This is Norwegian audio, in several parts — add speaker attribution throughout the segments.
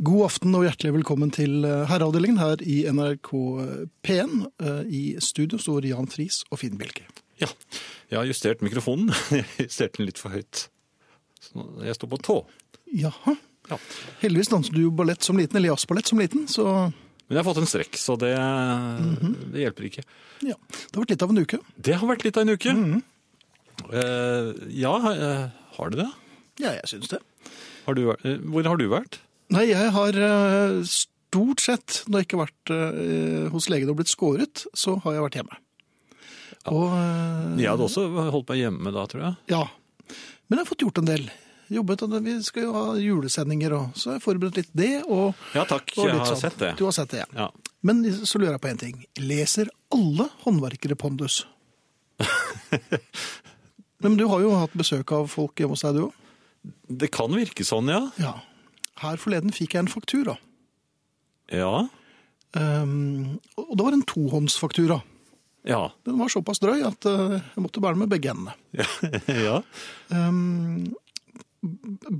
Speaker 1: God aften og hjertelig velkommen til eh, Herreavdelingen her i NRK P1. Eh, I studio står Jan Friis og Finn Bjelke.
Speaker 2: Ja, jeg har justert mikrofonen. Jeg justerte den litt for høyt. Så nå- jeg står på tå.
Speaker 1: Jaha.
Speaker 2: Ja.
Speaker 1: Heldigvis danset du jo ballett som liten, eller jazzballett som liten, så
Speaker 2: Men jeg har fått en strekk, så det, det hjelper ikke.
Speaker 1: ja. Det har vært litt av en uke.
Speaker 2: Det har vært litt av en uke. Eh, ja, eh, har det det?
Speaker 1: Ja, jeg syns det.
Speaker 2: Har du, vært- eh, hvor har du vært?
Speaker 1: Nei, jeg har eh, stort sett, når jeg ikke har vært eh, hos legen og blitt skåret, så har jeg vært hjemme. Og eh,
Speaker 2: Jeg hadde også holdt meg hjemme da, tror jeg.
Speaker 1: ja. Men jeg har fått gjort en del. Jobbet, og Vi skal jo ha julesendinger og så har jeg forberedt litt det. og...
Speaker 2: Ja takk,
Speaker 1: Og
Speaker 2: jeg
Speaker 1: litt
Speaker 2: har
Speaker 1: sånn.
Speaker 2: sett det.
Speaker 1: Du har sett det, ja.
Speaker 2: Ja.
Speaker 1: Men så lurer jeg på en ting. Leser alle håndverkere pondus? Men du har jo hatt besøk av folk hjemme hos deg, du òg.
Speaker 2: Det kan virke sånn, ja.
Speaker 1: Ja. Her forleden fikk jeg en faktura.
Speaker 2: Ja.
Speaker 1: Ehm, og det var en tohåndsfaktura.
Speaker 2: Ja.
Speaker 1: Den var såpass drøy at eh, jeg måtte bære den med begge hendene.
Speaker 2: ja.
Speaker 1: Ehm,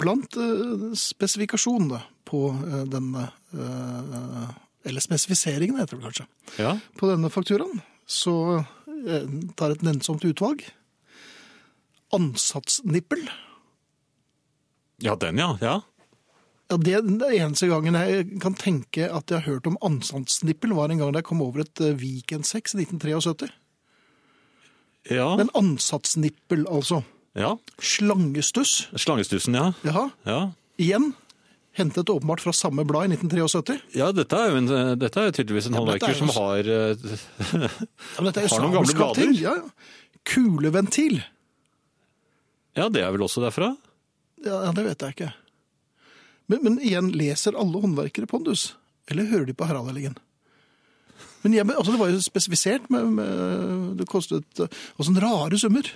Speaker 1: blant eh, spesifikasjonene på eh, denne eh, Eller spesifiseringene, heter det vel kanskje.
Speaker 2: ja.
Speaker 1: På denne fakturaen så eh, tar et nennsomt utvalg ansatsnippel.
Speaker 2: Ja, den, ja. ja.
Speaker 1: Ja, det er den eneste gangen jeg kan tenke at jeg har hørt om ansatsnippel, var en gang da jeg kom over et eh, Viken 6 i 1973.
Speaker 2: Ja.
Speaker 1: Men ansatsnippel, altså.
Speaker 2: ja.
Speaker 1: Slangestuss.
Speaker 2: Slangestussen, ja.
Speaker 1: Jaha.
Speaker 2: ja.
Speaker 1: Igjen. Hentet åpenbart fra samme blad i 1973.
Speaker 2: Ja, dette er jo, en, eh, dette er jo tydeligvis en
Speaker 1: men dette
Speaker 2: håndverker
Speaker 1: er jo
Speaker 2: som har eh,
Speaker 1: Ja, men dette er jo
Speaker 2: Har noen gamle
Speaker 1: sabelskap
Speaker 2: blader?
Speaker 1: ting. Ja, ja. Kuleventil.
Speaker 2: Ja, det er vel også derfra?
Speaker 1: Ja, ja, det vet jeg ikke. Men, men igjen, leser alle håndverkere Pondus? Eller hører de på Herreavdelingen? Men jeg, altså, det var jo spesifisert. Med, med, det kostet også en rare summer.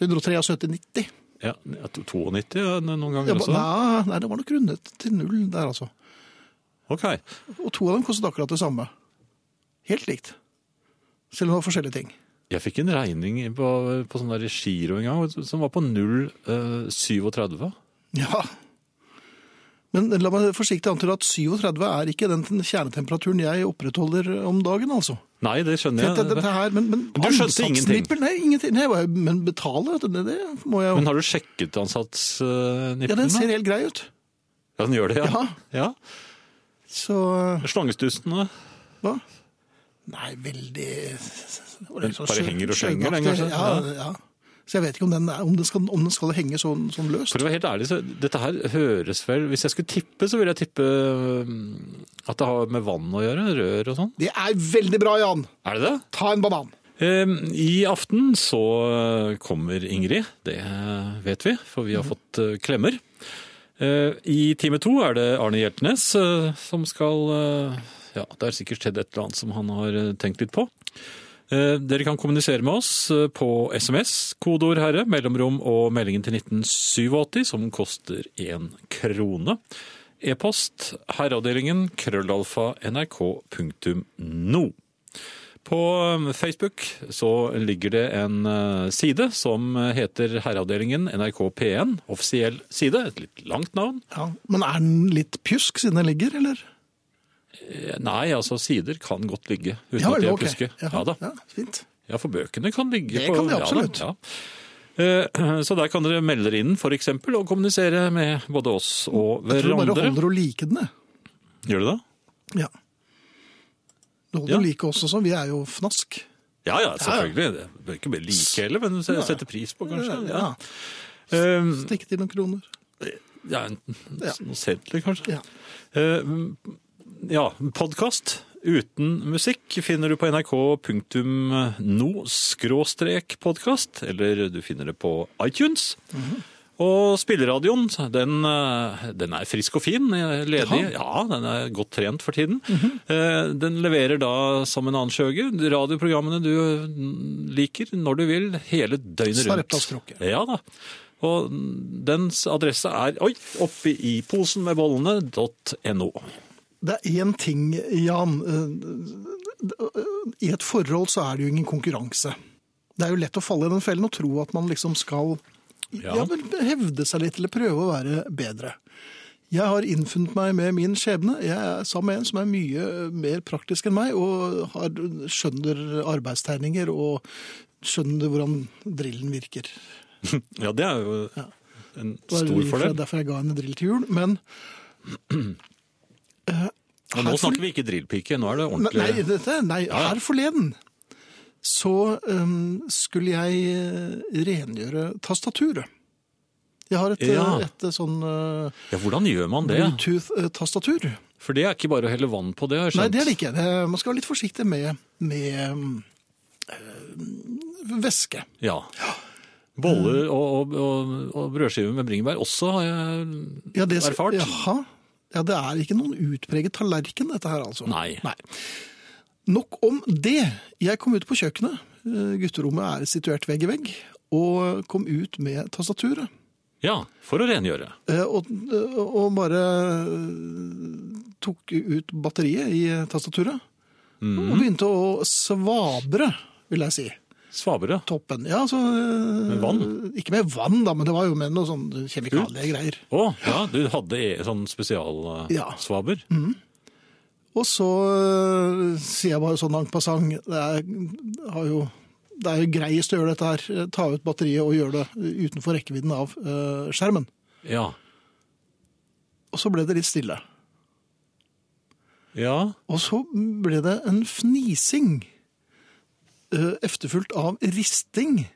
Speaker 1: 173,90.
Speaker 2: Ja, ja, to- 92 ja, noen ganger
Speaker 1: Jeg ba-
Speaker 2: også?
Speaker 1: Nei, nei, det var nok rundet til null der, altså.
Speaker 2: Ok.
Speaker 1: Og to av dem kostet akkurat det samme. Helt likt. Selv om det var forskjellige ting.
Speaker 2: Jeg fikk en regning på, på sånn der giro en gang som var på eh, 0,37.
Speaker 1: Ja. Men la meg forsiktig antyde at 37 er ikke den kjernetemperaturen jeg opprettholder om dagen, altså.
Speaker 2: Nei, det skjønner
Speaker 1: Dette,
Speaker 2: jeg.
Speaker 1: dette her, men, men
Speaker 2: Du skjønte
Speaker 1: ansattsnipper? Nei, ingenting. Nei, hva- men betale, vet du, det, det må jeg jo.
Speaker 2: Men har du sjekket ansatsnippen?
Speaker 1: Ja, den ser helt grei ut.
Speaker 2: Ja, den gjør det, ja. ja.
Speaker 1: Så
Speaker 2: Slangestussen, da?
Speaker 1: hva? Nei, veldig det var litt sånn
Speaker 2: Bare
Speaker 1: skjø-
Speaker 2: henger og slenger den,
Speaker 1: skjønnaktig.
Speaker 2: kanskje?
Speaker 1: Ja, ja. Så jeg vet ikke om den, er, om den, skal, om den skal henge sånn, sånn løst.
Speaker 2: For å være helt ærlig, så dette her høres vel Hvis jeg skulle tippe, så ville jeg tippe mm, at det har med vann å gjøre. Rør og sånn.
Speaker 1: Det er veldig bra, Jan!
Speaker 2: Er det det?
Speaker 1: Ta en banan.
Speaker 2: Eh, I aften så kommer Ingrid, det vet vi, for vi har fått eh, klemmer. Eh, I time to er det Arne Hjeltnes eh, som skal eh, Ja, det har sikkert skjedd et eller annet som han har eh, tenkt litt på. Eh, Dere kan kommunisere med oss eh, på SMS, kodeord 'herre', mellomrom og meldingen til 1987, som koster én krone. E-post herreavdelingen krøllalfa nrk.no. På um, Facebook så ligger det en eh, side som heter Herreavdelingen NRK P1, offisiell side. Et litt langt navn.
Speaker 1: Ja, men er den litt pjusk siden den ligger, eller?
Speaker 2: Eh, Nei, altså sider kan godt ligge uten
Speaker 1: Ja,
Speaker 2: at
Speaker 1: vel,
Speaker 2: de er
Speaker 1: ok.
Speaker 2: pluske.
Speaker 1: Jaha,
Speaker 2: Ja da.
Speaker 1: Ja, fint.
Speaker 2: Ja, for bøkene kan ligge
Speaker 1: Det
Speaker 2: på
Speaker 1: kan de
Speaker 2: ja da,
Speaker 1: absolutt.
Speaker 2: Ja, Eh, Så der kan dere melde dere inn, for eksempel, og kommunisere med både oss og
Speaker 1: Jeg tror du bare
Speaker 2: hverandre.
Speaker 1: holder å like den, jeg.
Speaker 2: Gjør du det?
Speaker 1: Ja. Du holder
Speaker 2: Ja.
Speaker 1: å like oss også, vi er jo fnask.
Speaker 2: Ja, ja, selvfølgelig. Det bør ikke bli like heller, men sette pris på, kanskje. Ja.
Speaker 1: Ja.
Speaker 2: Eh,
Speaker 1: Stikk til noen kroner.
Speaker 2: Ja, enten noen sedler, kanskje.
Speaker 1: Ja.
Speaker 2: Eh, ja, podkast uten musikk finner du på nrk.no-podkast, eller du finner det på iTunes. Og spilleradioen, den, eh, den er frisk og fin, eh, ledig. Ja, den er godt trent for tiden. Eh, Den leverer da som en annen skjøge radioprogrammene du mm, liker når du vil, hele døgnet rundt.
Speaker 1: Sareptas-krukke.
Speaker 2: Ja da. Og dens adresse er oi, oppe i posen med bollene.no.
Speaker 1: Det er én ting, Jan. Eh, I et forhold så er det jo ingen konkurranse. Det er jo lett å falle i den fellen og tro at man liksom skal ja.
Speaker 2: Ja.
Speaker 1: vel, hevde seg litt eller prøve å være bedre. Jeg har innfunnet meg med min skjebne. Jeg er sammen med en som er mye mer praktisk enn meg, og har, skjønner arbeidstegninger og skjønner hvordan drillen virker.
Speaker 2: Ja, det er jo en
Speaker 1: Det var i og
Speaker 2: stor
Speaker 1: for seg
Speaker 2: fordel.
Speaker 1: Derfor jeg ga henne drill til jul. Men
Speaker 2: Og nå
Speaker 1: Her-
Speaker 2: snakker vi ikke drillpike, nå er det
Speaker 1: Nei,
Speaker 2: ordentlig
Speaker 1: nei, dette, nei
Speaker 2: Ja, ja.
Speaker 1: her forleden så øhm, skulle jeg eh, rengjøre tastaturet. Jeg har et,
Speaker 2: Ja.
Speaker 1: eh, et, eh, sånn eh,
Speaker 2: Ja, hvordan gjør man det?
Speaker 1: Bluetooth-tastatur.
Speaker 2: For det er ikke bare å helle vann på det, har jeg
Speaker 1: Nei,
Speaker 2: skjønt.
Speaker 1: det er det ikke. Det- Man skal være litt forsiktig med, med øhm, øh, væske.
Speaker 2: Ja. Boller
Speaker 1: Mm.
Speaker 2: og, og, og, og brødskiver med bringebær også har jeg
Speaker 1: Ja, det skal-
Speaker 2: Erfart.
Speaker 1: Jaha. Ja, det er ikke noen utpreget tallerken, dette her, altså.
Speaker 2: Nei.
Speaker 1: Nok om det. Jeg kom ut på kjøkkenet. Eh, Gutterommet er situert vegg i vegg. Og kom ut med tastaturet.
Speaker 2: Ja, for å rengjøre.
Speaker 1: Eh, Og, og bare eh, tok ut batteriet i tastaturet.
Speaker 2: Mhm.
Speaker 1: Og begynte å svabre, vil jeg si.
Speaker 2: Svabere.
Speaker 1: Toppen. Ja, altså, eh,
Speaker 2: Med vann?
Speaker 1: Ikke med vann, da, men det var jo med noe sånn kjemikaliegreier.
Speaker 2: Å, ja, du hadde e- sånn
Speaker 1: Ja.
Speaker 2: spesialsvaber.
Speaker 1: Og så eh, sier jeg bare sånn en passant det, er- har jo- det er jo greiest å gjøre dette her. Eh, Ta ut batteriet og gjøre det utenfor rekkevidden av eh, skjermen.
Speaker 2: Ja.
Speaker 1: Og så ble det litt stille.
Speaker 2: Ja.
Speaker 1: Og så ble det en fnising. eh, Efterfulgt av risting.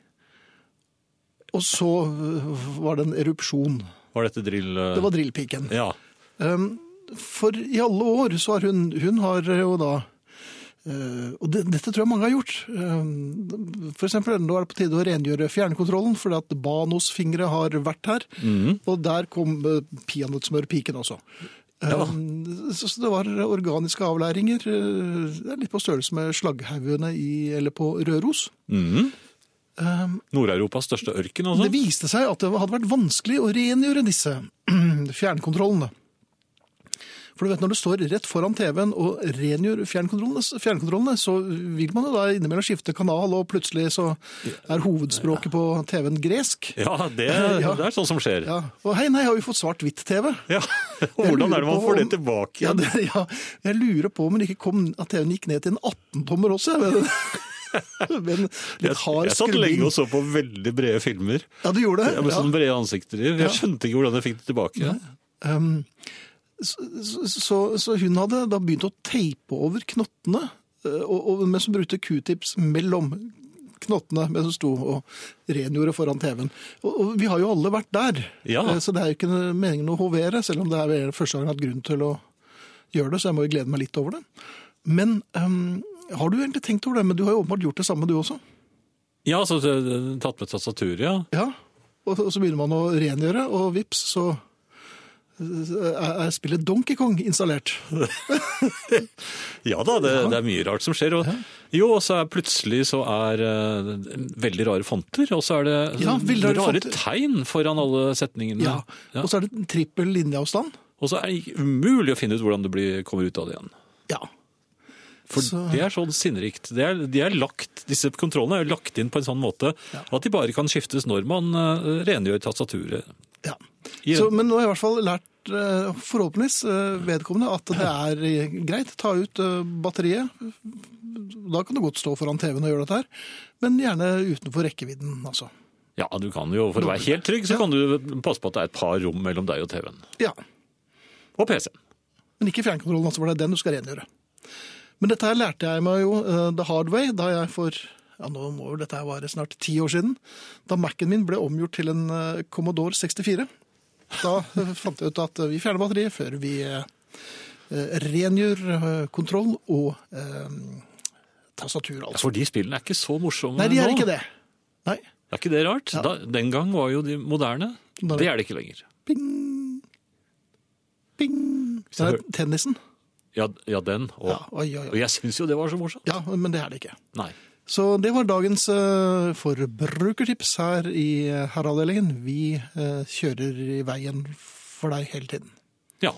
Speaker 1: Og så eh, var det en erupsjon.
Speaker 2: Var dette drill...
Speaker 1: Det var drillpiken.
Speaker 2: Ja.
Speaker 1: Um, For i alle år så har hun Hun har jo da eh, og det, dette tror jeg mange har gjort. Um, For eksempel, nå er det på tide å rengjøre fjernkontrollen, fordi at Banos fingre har vært her. Og der kom eh, peanøttsmørpiken også.
Speaker 2: Ja.
Speaker 1: Um, Så så det var organiske avlæringer. eh, Det er litt på størrelse med slagghaugene i, eller på Røros.
Speaker 2: Mhm.
Speaker 1: Um,
Speaker 2: Nord-Europas største ørken, altså.
Speaker 1: det viste seg at det hadde vært vanskelig å rengjøre disse fjernkontrollene. For du vet, når du står rett foran TV-en og rengjør fjernkontrollene, fjernkontrollene, så vil man jo da innimellom skifte kanal, og plutselig så er hovedspråket på TV-en gresk.
Speaker 2: Ja, det,
Speaker 1: Ja.
Speaker 2: det er sånn som skjer. Ja.
Speaker 1: Ja. Og hei, nei, har vi fått svart-hvitt-TV?
Speaker 2: Og hvordan er det man
Speaker 1: lurer på
Speaker 2: får det
Speaker 1: om-
Speaker 2: tilbake
Speaker 1: Ja,
Speaker 2: igjen?
Speaker 1: det, ja, jeg lurer på om den ikke kom, at TV-en gikk ned til en 18-tommer også. jeg vet. Med en
Speaker 2: Jeg,
Speaker 1: litt hard
Speaker 2: jeg satt lenge
Speaker 1: skrubbing.
Speaker 2: og så på veldig brede filmer.
Speaker 1: Ja, du gjorde det?
Speaker 2: Ja, med
Speaker 1: Ja.
Speaker 2: sånne brede ansikter i. Jeg skjønte ikke hvordan jeg fikk det tilbake.
Speaker 1: Um, så, så, så hun hadde da begynt å teipe over knottene, eh, og, og, mens hun brukte Q-tips mellom knottene mens hun sto og rengjorde foran TV-en. Og, og vi har jo alle vært der,
Speaker 2: Ja.
Speaker 1: eh, så det er jo ikke meningen å hovere, selv om det er vel første gang jeg har hatt grunn til å gjøre det, så jeg må jo glede meg litt over det. Men um, har du egentlig tenkt over det? Men du har jo åpenbart gjort det samme, du også.
Speaker 2: Ja, så eh, tatt med tastaturet, ja.
Speaker 1: Ja, og, og så begynner man å rengjøre, og vips, så eh, er spillet Donkey Kong installert.
Speaker 2: Ja da, det, det er mye rart som skjer. Og, Jo, og så er plutselig så er eh, veldig rare fonter, og så er det
Speaker 1: Ja, veldig rare
Speaker 2: rare,
Speaker 1: fonter.
Speaker 2: tegn foran alle setningene.
Speaker 1: Ja.
Speaker 2: Ja.
Speaker 1: Og så er det en trippel linjeavstand.
Speaker 2: Og så er det ikke umulig å finne ut hvordan du blir, kommer ut av det igjen.
Speaker 1: Ja.
Speaker 2: For
Speaker 1: Så-
Speaker 2: det er sånn sinnrikt. Det er, de er lagt, disse kontrollene er jo lagt inn på en sånn måte at de bare kan skiftes når man eh, rengjør tastaturet.
Speaker 1: ja.
Speaker 2: I-
Speaker 1: Så, men nå har jeg i hvert fall lært, eh, forhåpentligvis eh, vedkommende, at det er eh, greit. Ta ut eh, batteriet. Da kan du godt stå foran TV-en og gjøre dette her. Men gjerne utenfor rekkevidden, altså.
Speaker 2: Ja, du kan jo, for å være helt trygg, så
Speaker 1: Ja.
Speaker 2: kan du passe på at det er et par rom mellom deg og TV-en.
Speaker 1: Ja.
Speaker 2: Og PC-en.
Speaker 1: Men ikke fjernkontrollen, altså, for det er den du skal rengjøre. Men dette her lærte jeg meg jo eh, the hard way da jeg for ja, nå må jo dette her være snart ti år siden. Da Mac-en min ble omgjort til en eh, Commodore 64. Da eh, fant jeg ut at eh, vi fjerner batteriet før vi eh, eh, rengjør eh, kontroll og eh, tastatur,
Speaker 2: Ja,
Speaker 1: altså.
Speaker 2: for de spillene er ikke så morsomme
Speaker 1: Nei, de er
Speaker 2: nå.
Speaker 1: ikke det. Nei.
Speaker 2: Er ikke det rart?
Speaker 1: Ja.
Speaker 2: Da, den gang var jo de moderne.
Speaker 1: Da-
Speaker 2: Det er det ikke lenger.
Speaker 1: Ping! Ping! Det er tennisen.
Speaker 2: Ja, ja den. Og,
Speaker 1: Ja, oi, oi,
Speaker 2: og
Speaker 1: oi.
Speaker 2: jeg syns jo det var så morsomt.
Speaker 1: Ja, men det er det ikke.
Speaker 2: Nei.
Speaker 1: Så det var dagens eh, forbrukertips her i eh, herreavdelingen. Vi eh, kjører i veien for deg hele tiden.
Speaker 2: Ja.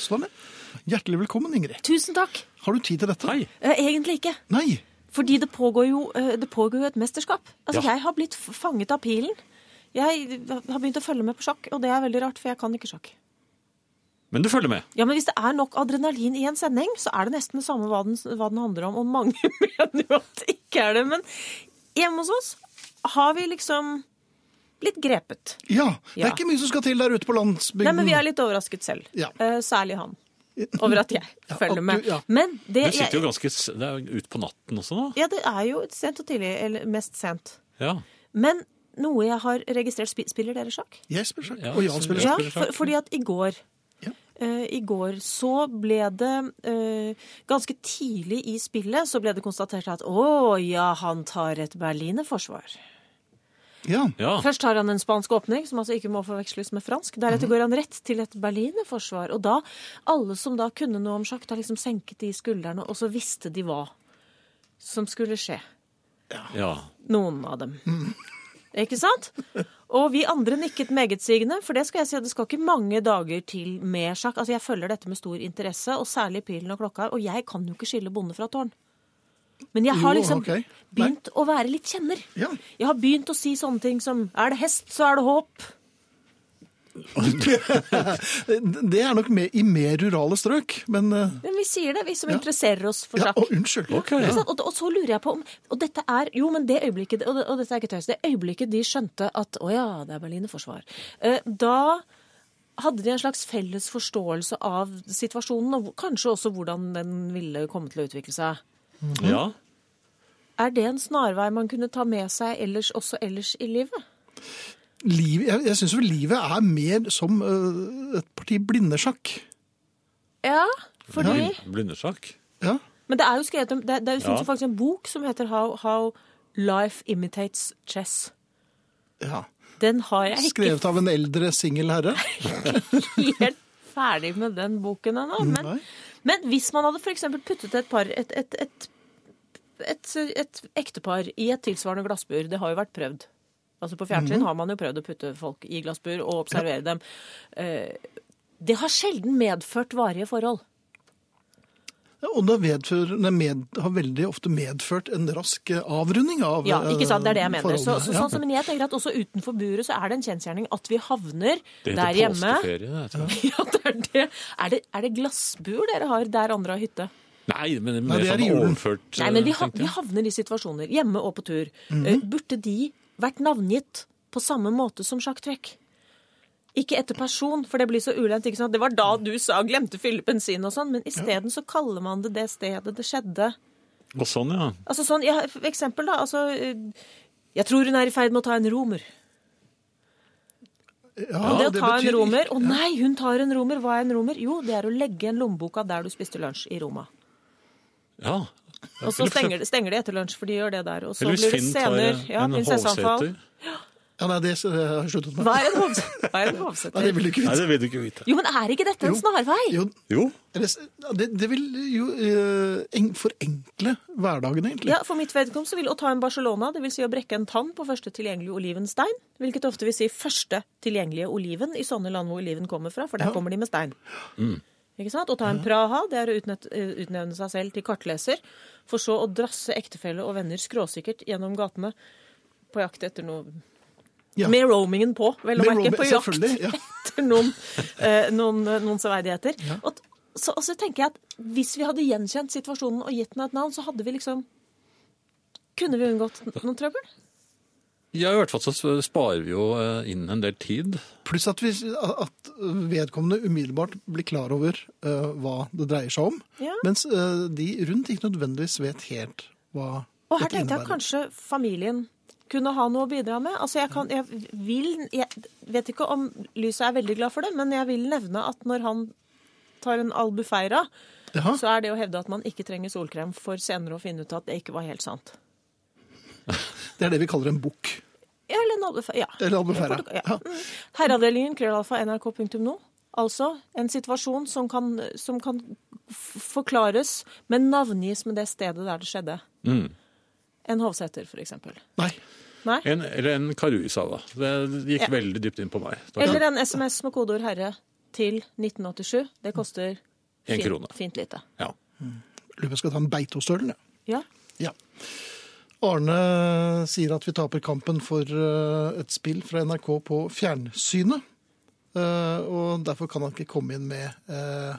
Speaker 1: Sånn er det. Hjertelig velkommen, Ingrid.
Speaker 3: Tusen takk.
Speaker 1: Har du tid til dette?
Speaker 2: Hei.
Speaker 3: Eh, Egentlig ikke.
Speaker 1: Nei.
Speaker 3: Fordi det pågår jo, eh, det pågår jo et mesterskap. Altså,
Speaker 2: Ja.
Speaker 3: Jeg har blitt f- fanget av pilen. Jeg har begynt å følge med på sjakk, og det er veldig rart, for jeg kan ikke sjakk.
Speaker 2: Men du følger med.
Speaker 3: Ja, men Hvis det er nok adrenalin i en sending, så er det nesten det samme hva den, hva den handler om. Og mange mener jo at det ikke er det. Men hjemme hos oss har vi liksom blitt grepet.
Speaker 1: Ja, det er
Speaker 3: Ja.
Speaker 1: ikke mye som skal til der ute på landsbygden.
Speaker 3: Nei, men vi er litt overrasket selv.
Speaker 1: Ja.
Speaker 3: Eh, Særlig han. Over at jeg
Speaker 1: at
Speaker 3: følger med.
Speaker 1: du- ja.
Speaker 3: Men
Speaker 2: Du
Speaker 3: det
Speaker 2: sitter jo ganske s- det er jo ut på natten også, da.
Speaker 3: Ja, det er jo sent og tidlig. Eller mest sent.
Speaker 2: Ja.
Speaker 3: Men noe jeg har registrert spi- Spiller dere sjakk?
Speaker 1: Jeg spiller sjakk,
Speaker 2: Ja,
Speaker 1: og Jan spiller
Speaker 2: så-
Speaker 1: sjakk.
Speaker 3: Ja,
Speaker 2: spiller sjakk.
Speaker 3: for, fordi at i går
Speaker 1: Ja.
Speaker 3: eh, I går så ble det eh, Ganske tidlig i spillet så ble det konstatert at å ja, han tar et berlinerforsvar.
Speaker 1: Ja.
Speaker 2: ja.
Speaker 3: Først tar han en spansk åpning, som altså ikke må forveksles med fransk. Deretter går han rett til et berlinerforsvar. Og da, alle som da kunne noe om sjakk, da liksom senket de skuldrene, og så visste de hva som skulle skje.
Speaker 2: ja.
Speaker 3: Noen av dem.
Speaker 1: Mm.
Speaker 3: Ikke sant? Og vi andre nikket megetsigende, for det skal jeg si, at det skal ikke mange dager til med sjakk. Altså, jeg følger dette med stor interesse, og særlig pilen og klokka, og jeg kan jo ikke skille bonde fra tårn. Men jeg har
Speaker 1: Jo,
Speaker 3: liksom
Speaker 1: ok. Nei.
Speaker 3: begynt å være litt kjenner.
Speaker 1: Ja.
Speaker 3: Jeg har begynt å si sånne ting som er det hest, så er det håp.
Speaker 1: Det er nok med i mer rurale strøk, men eh,
Speaker 3: Men vi sier det, vi som
Speaker 1: Ja.
Speaker 3: interesserer oss for
Speaker 1: ja,
Speaker 3: sjakk.
Speaker 1: å, Unnskyld.
Speaker 2: Ok.
Speaker 3: Ikke sant? Og, og så lurer jeg på om Og dette er Jo, men det øyeblikket Og, det, og dette er ikke tøys. Det øyeblikket de skjønte at Å ja, det er Berliner forsvar. Eh, da hadde de en slags felles forståelse av situasjonen, og kanskje også hvordan den ville komme til å utvikle seg.
Speaker 2: ja.
Speaker 3: Er det en snarvei man kunne ta med seg ellers, også ellers i livet?
Speaker 1: Liv, jeg jeg syns vel livet er mer som eh, et parti blindesjakk.
Speaker 3: Ja, fordi
Speaker 2: Blind- Blindesjakk.
Speaker 1: Ja.
Speaker 3: Men det er jo skrevet om Det, det finnes
Speaker 2: Ja.
Speaker 3: jo faktisk en bok som heter How, How Life Imitates Chess.
Speaker 1: ja.
Speaker 3: Den har jeg ikke
Speaker 1: Skrevet av en eldre singel herre.
Speaker 3: helt ferdig med den boken ennå. Men,
Speaker 1: Nei.
Speaker 3: men hvis man hadde f.eks. puttet et par et, et, et, et, et ektepar i et tilsvarende glassbur Det har jo vært prøvd. Altså På fjernsyn har man jo prøvd å putte folk i glassbur og observere dem. Eh, Det har sjelden medført varige forhold.
Speaker 1: Og det, vedfører, nei, med, har veldig ofte medført en rask eh, avrunding av
Speaker 3: Ja, ikke sant? Det er det jeg
Speaker 1: eh,
Speaker 3: mener. Så,
Speaker 1: forholdene.
Speaker 3: så,
Speaker 1: Ja.
Speaker 3: sånn som men jeg tenker at Også utenfor buret så er det en kjensgjerning at vi havner
Speaker 2: Det
Speaker 3: der
Speaker 2: heter
Speaker 3: hjemme.
Speaker 2: påskeferie. Det, tror jeg.
Speaker 3: Ja, det er, det. Er, det, er det glassbur dere har der andre har hytte?
Speaker 2: Nei, men
Speaker 1: Nei,
Speaker 2: mer
Speaker 1: det er
Speaker 2: sånn
Speaker 1: i julen.
Speaker 2: overført. eh,
Speaker 3: Nei, men vi, ha,
Speaker 2: tenkte
Speaker 3: vi
Speaker 2: jeg. Mhm.
Speaker 3: havner i situasjoner, hjemme og på tur. Eh, Burde de vært navngitt på samme måte som sjakktrekk? Ikke etter person, for det blir så ulendt. ikke sant? Det var da du sa 'glemte å fylle bensin' og sånn, men isteden så kaller man det det stedet det skjedde.
Speaker 2: Og sånn, ja.
Speaker 3: Altså sånn, ja, For eksempel, da. altså... eh, Jeg tror hun er i ferd med å ta en romer.
Speaker 1: Ja,
Speaker 3: det å ta
Speaker 1: betyr-
Speaker 3: en romer Å nei, hun tar en romer! Hva er en romer? Jo, det er å legge igjen lommeboka der du spiste lunsj i Roma.
Speaker 2: ja.
Speaker 3: Og så stenger, stenger de etter lunsj, for de gjør det der. Og så
Speaker 2: Eller hvis
Speaker 3: blir det
Speaker 2: Finn tar
Speaker 3: senere ja,
Speaker 2: en
Speaker 3: prinsesseanfall.
Speaker 2: hovseter.
Speaker 1: Ja, nei, det eh, har jeg sluttet med.
Speaker 3: Hva er en hovs- hva er en
Speaker 1: Nei, det
Speaker 3: hovseter?
Speaker 1: vil du ikke
Speaker 2: Nei,
Speaker 1: vite.
Speaker 2: det vil du ikke vite.
Speaker 3: Jo, men er ikke dette en
Speaker 1: Jo.
Speaker 3: snarvei?
Speaker 1: Jo,
Speaker 2: Jo.
Speaker 1: det, det- det vil jo eh, eng- forenkle hverdagen, egentlig.
Speaker 3: Ja, For mitt vedkommende så vil å ta en Barcelona, det vil Si å brekke en tann på første tilgjengelige olivenstein, hvilket ofte vil si første tilgjengelige oliven i sånne land hvor oliven kommer fra, for der kommer de med stein. Mm. Ikke sant? Å ta en Praha, det er å utnett- utnevne seg selv til kartleser, for så å drasse ektefelle og venner skråsikkert gjennom gatene på jakt etter noe
Speaker 1: Ja.
Speaker 3: Med roamingen på, vel
Speaker 1: Med
Speaker 3: å merke.
Speaker 1: roaming-
Speaker 3: På jakt
Speaker 1: selvfølgelig, ja.
Speaker 3: etter noen, eh, noen, noen severdigheter. Og, t- så, og så tenker jeg at hvis vi hadde gjenkjent situasjonen og gitt den et navn, så hadde vi liksom Kunne vi unngått n- noen trøbbel?
Speaker 2: Ja, i hvert fall så sparer vi jo eh, inn en del tid.
Speaker 1: Pluss at, vi, at vedkommende umiddelbart blir klar over eh, hva det dreier seg om.
Speaker 3: Ja.
Speaker 1: Mens eh, de rundt ikke nødvendigvis vet helt hva
Speaker 3: Og her tenkte jeg kanskje familien kunne ha noe å bidra med. Altså jeg, kan, jeg vil Jeg vet ikke om Lyset er veldig glad for det, men jeg vil nevne at når han tar en albufeira,
Speaker 1: Jaha.
Speaker 3: så er det å hevde at man ikke trenger solkrem, for senere å finne ut at det ikke var helt sant.
Speaker 1: Det er det vi kaller en bukk.
Speaker 3: Ja, eller en albufeira. Ja.
Speaker 1: Eller albufeira.
Speaker 3: Portug-
Speaker 1: Ja.
Speaker 3: Ja. Mm. Herreavdelingen, krøllalfa, nrk.no. Altså en situasjon som kan, som kan f- forklares, men navngis med det stedet der det skjedde.
Speaker 2: Mm.
Speaker 3: En Hovseter, for eksempel.
Speaker 1: Nei.
Speaker 3: Nei?
Speaker 2: En, eller en Karusa, da. Det gikk
Speaker 3: Ja.
Speaker 2: veldig dypt inn på meg. Det var
Speaker 3: Eller en SMS med kodeord 'herre' til 1987. Det koster
Speaker 2: En
Speaker 3: fint-
Speaker 2: krone.
Speaker 3: fint lite.
Speaker 2: ikke- Ja.
Speaker 1: Lurer på om jeg skal ta en Beitostølen, jeg.
Speaker 3: Ja.
Speaker 1: Ja. Arne sier at vi taper kampen for eh, et spill fra NRK på fjernsynet. Eh, Eh, og derfor kan han ikke komme inn med, eh,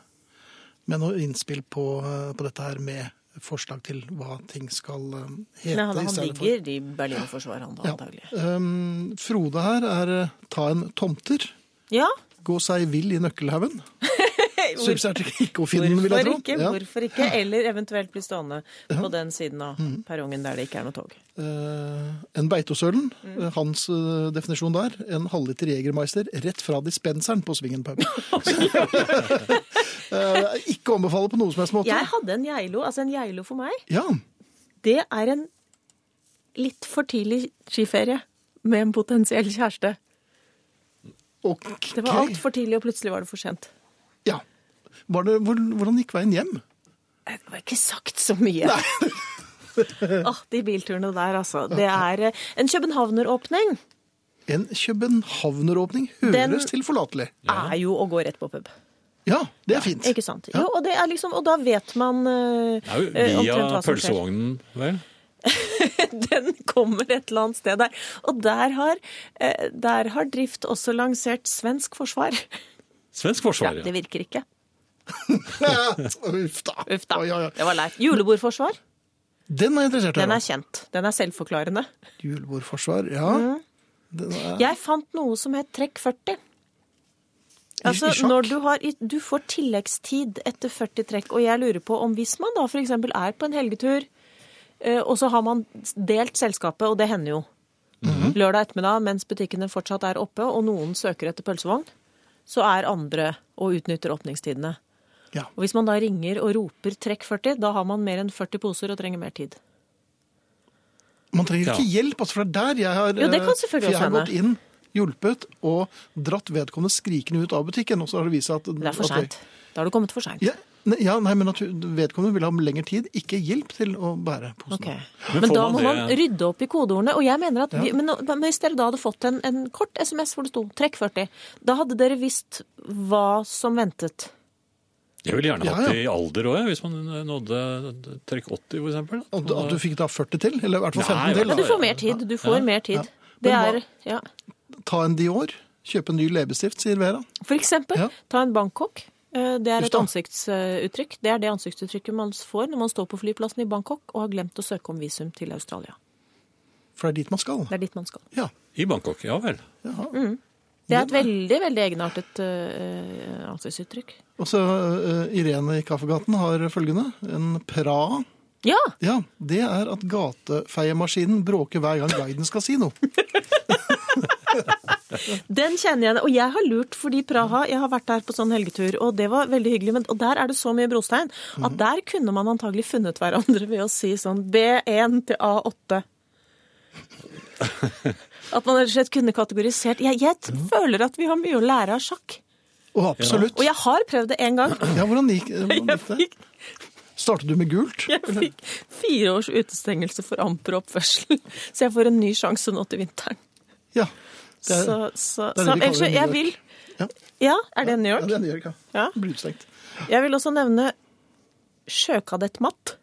Speaker 1: med noe innspill på, eh, på dette her med forslag til hva ting skal eh, hete.
Speaker 3: Nei, han,
Speaker 1: i
Speaker 3: han
Speaker 1: stedet for-
Speaker 3: digger de Berlin-forsvar, han da,
Speaker 1: Ja.
Speaker 3: antagelig.
Speaker 1: Um, Frode her er eh, ta en tomter,
Speaker 3: Ja,
Speaker 1: gå seg vill i nøkkelhaugen. Subsidiært ikke å finne den, vil jeg
Speaker 3: hvorfor
Speaker 1: tro.
Speaker 3: ikke?
Speaker 1: Ja. Mm.
Speaker 3: Hvorfor ikke? Eller eventuelt bli stående på den siden av perrongen der det ikke er noe tog.
Speaker 1: Eh, en Beitosølen,
Speaker 3: Mm.
Speaker 1: eh, hans eh, definisjon der. En halvliter Jegermeister rett fra dispenseren på Svingen pub. Eh, ikke å anbefale på noen som helst måte.
Speaker 3: Jeg hadde en geilo. Altså, en geilo for meg,
Speaker 1: Ja,
Speaker 3: det er en litt for tidlig skiferie med en potensiell kjæreste.
Speaker 1: ok.
Speaker 3: Det var alt altfor tidlig, og plutselig var det for sent.
Speaker 1: Ja. Var det, hvor, hvordan gikk veien hjem?
Speaker 3: Eh, Det var ikke sagt så mye. Åh, de bilturene der, altså. Det er eh, en københavneråpning.
Speaker 1: En københavneråpning høres tilforlatelig.
Speaker 3: Er jo å gå rett på pub.
Speaker 1: Ja, det er fint.
Speaker 3: Ikke sant? Jo, og, det er liksom, og da vet man eh,
Speaker 2: Det er jo
Speaker 3: eh, omtrent
Speaker 2: via
Speaker 3: hva som skjer.
Speaker 2: pølsevognen, vel?
Speaker 3: Den kommer et eller annet sted der. Og der har, eh, der har Drift også lansert svensk forsvar.
Speaker 2: Svensk
Speaker 3: Ja,
Speaker 2: forsvar, ja.
Speaker 3: det virker ikke.
Speaker 1: Uff da.
Speaker 3: Uff da.
Speaker 1: Oi, oi, oi.
Speaker 3: Det var leit. Julebordforsvar,
Speaker 1: Den er jeg interessert i. å
Speaker 3: den
Speaker 1: høre.
Speaker 3: er kjent. Den er selvforklarende.
Speaker 1: Julebordforsvar, ja.
Speaker 3: Mm.
Speaker 1: Den er...
Speaker 3: Jeg fant noe som het trekk 40. Altså,
Speaker 1: I sjakk?
Speaker 3: når du, har, du får tilleggstid etter 40 trekk, og jeg lurer på om hvis man da f.eks. er på en helgetur, eh, og så har man delt selskapet, og det hender jo
Speaker 1: Mhm.
Speaker 3: lørdag ettermiddag mens butikkene fortsatt er oppe, og noen søker etter pølsevogn, så er andre og utnytter åpningstidene.
Speaker 1: Ja.
Speaker 3: Og hvis man da ringer og roper 'trekk 40', da har man mer enn 40 poser og trenger mer tid.
Speaker 1: Man trenger ikke hjelp, altså, for det er der jeg har,
Speaker 3: Jo, det kan
Speaker 1: eh,
Speaker 3: selvfølgelig
Speaker 1: for jeg har
Speaker 3: også
Speaker 1: gått inn, hjulpet og dratt vedkommende skrikende ut av butikken. Og så har det vist seg at
Speaker 3: Det er for
Speaker 1: at
Speaker 3: seint. Da har du kommet for seint.
Speaker 1: Ja, ne- ja, nei, men at vedkommende vil ha lengre tid, ikke hjelp til å bære posen.
Speaker 3: Ok.
Speaker 2: Men
Speaker 3: Men,
Speaker 2: får
Speaker 3: da
Speaker 2: man
Speaker 3: må
Speaker 2: det-
Speaker 3: man rydde opp i kodeordene. Og jeg mener at vi, men, men hvis dere da hadde fått en, en kort SMS hvor det sto 'trekk 40', da hadde dere visst hva som ventet.
Speaker 2: Jeg ville gjerne
Speaker 1: Ja,
Speaker 2: hatt
Speaker 1: ja.
Speaker 2: det i alder òg, hvis man eh, nådde trekk 80 f.eks.
Speaker 1: At, du- at du fikk da 40 til, eller i hvert fall
Speaker 2: Nei,
Speaker 1: 15 til.
Speaker 3: Men
Speaker 1: Da.
Speaker 3: du
Speaker 2: ja,
Speaker 3: får mer tid. Du får mer tid. Det
Speaker 1: Men
Speaker 3: er
Speaker 1: hva-
Speaker 3: ja.
Speaker 1: Ta en Dior, kjøpe en ny leppestift, sier Vera.
Speaker 3: For eksempel,
Speaker 1: Ja.
Speaker 3: ta en Bangkok. Eh, Det er
Speaker 1: Just
Speaker 3: et
Speaker 1: da.
Speaker 3: ansiktsuttrykk. Det er det ansiktsuttrykket man får når man står på flyplassen i Bangkok og har glemt å søke om visum til Australia.
Speaker 1: For det er dit man skal.
Speaker 3: Det er dit man skal.
Speaker 1: Ja.
Speaker 2: I Bangkok, ja vel.
Speaker 3: Mm. Det er et veldig, veldig egenartet eh, ansiktsuttrykk.
Speaker 1: Og så eh, Irene i Kaffegaten har følgende. En pra.
Speaker 3: Ja!
Speaker 1: Ja, det er at gatefeiemaskinen bråker hver gang guiden skal si noe.
Speaker 3: Den kjenner jeg. Og jeg har lurt, fordi Praha Jeg har vært der på sånn helgetur, og det var veldig hyggelig. Men, og der er det så mye brostein
Speaker 1: Mhm.
Speaker 3: at der kunne man antagelig funnet hverandre ved å si sånn B1 til A8. At man rett og slett kunne kategorisert Jeg, jeg t- føler at vi har mye å lære av sjakk.
Speaker 1: Å, absolutt.
Speaker 3: Og jeg har prøvd det én gang.
Speaker 1: Ja, hvordan gikk, hvordan
Speaker 3: Jeg
Speaker 1: gikk det?
Speaker 3: fikk,
Speaker 1: Startet du med gult?
Speaker 3: jeg fikk fire års utestengelse for amper oppførsel, så jeg får en ny sjanse nå til vinteren.
Speaker 1: Ja. Det er,
Speaker 3: Så, så,
Speaker 1: det er det de
Speaker 3: så
Speaker 1: kaller
Speaker 3: ellers,
Speaker 1: New
Speaker 3: jeg
Speaker 1: York.
Speaker 3: vil
Speaker 1: Ja.
Speaker 3: Ja, er det New
Speaker 1: ja, det
Speaker 3: York?
Speaker 1: er New York, ja.
Speaker 3: Ja.
Speaker 1: Blir utstengt.
Speaker 3: Jeg vil også nevne sjøkadett Matt.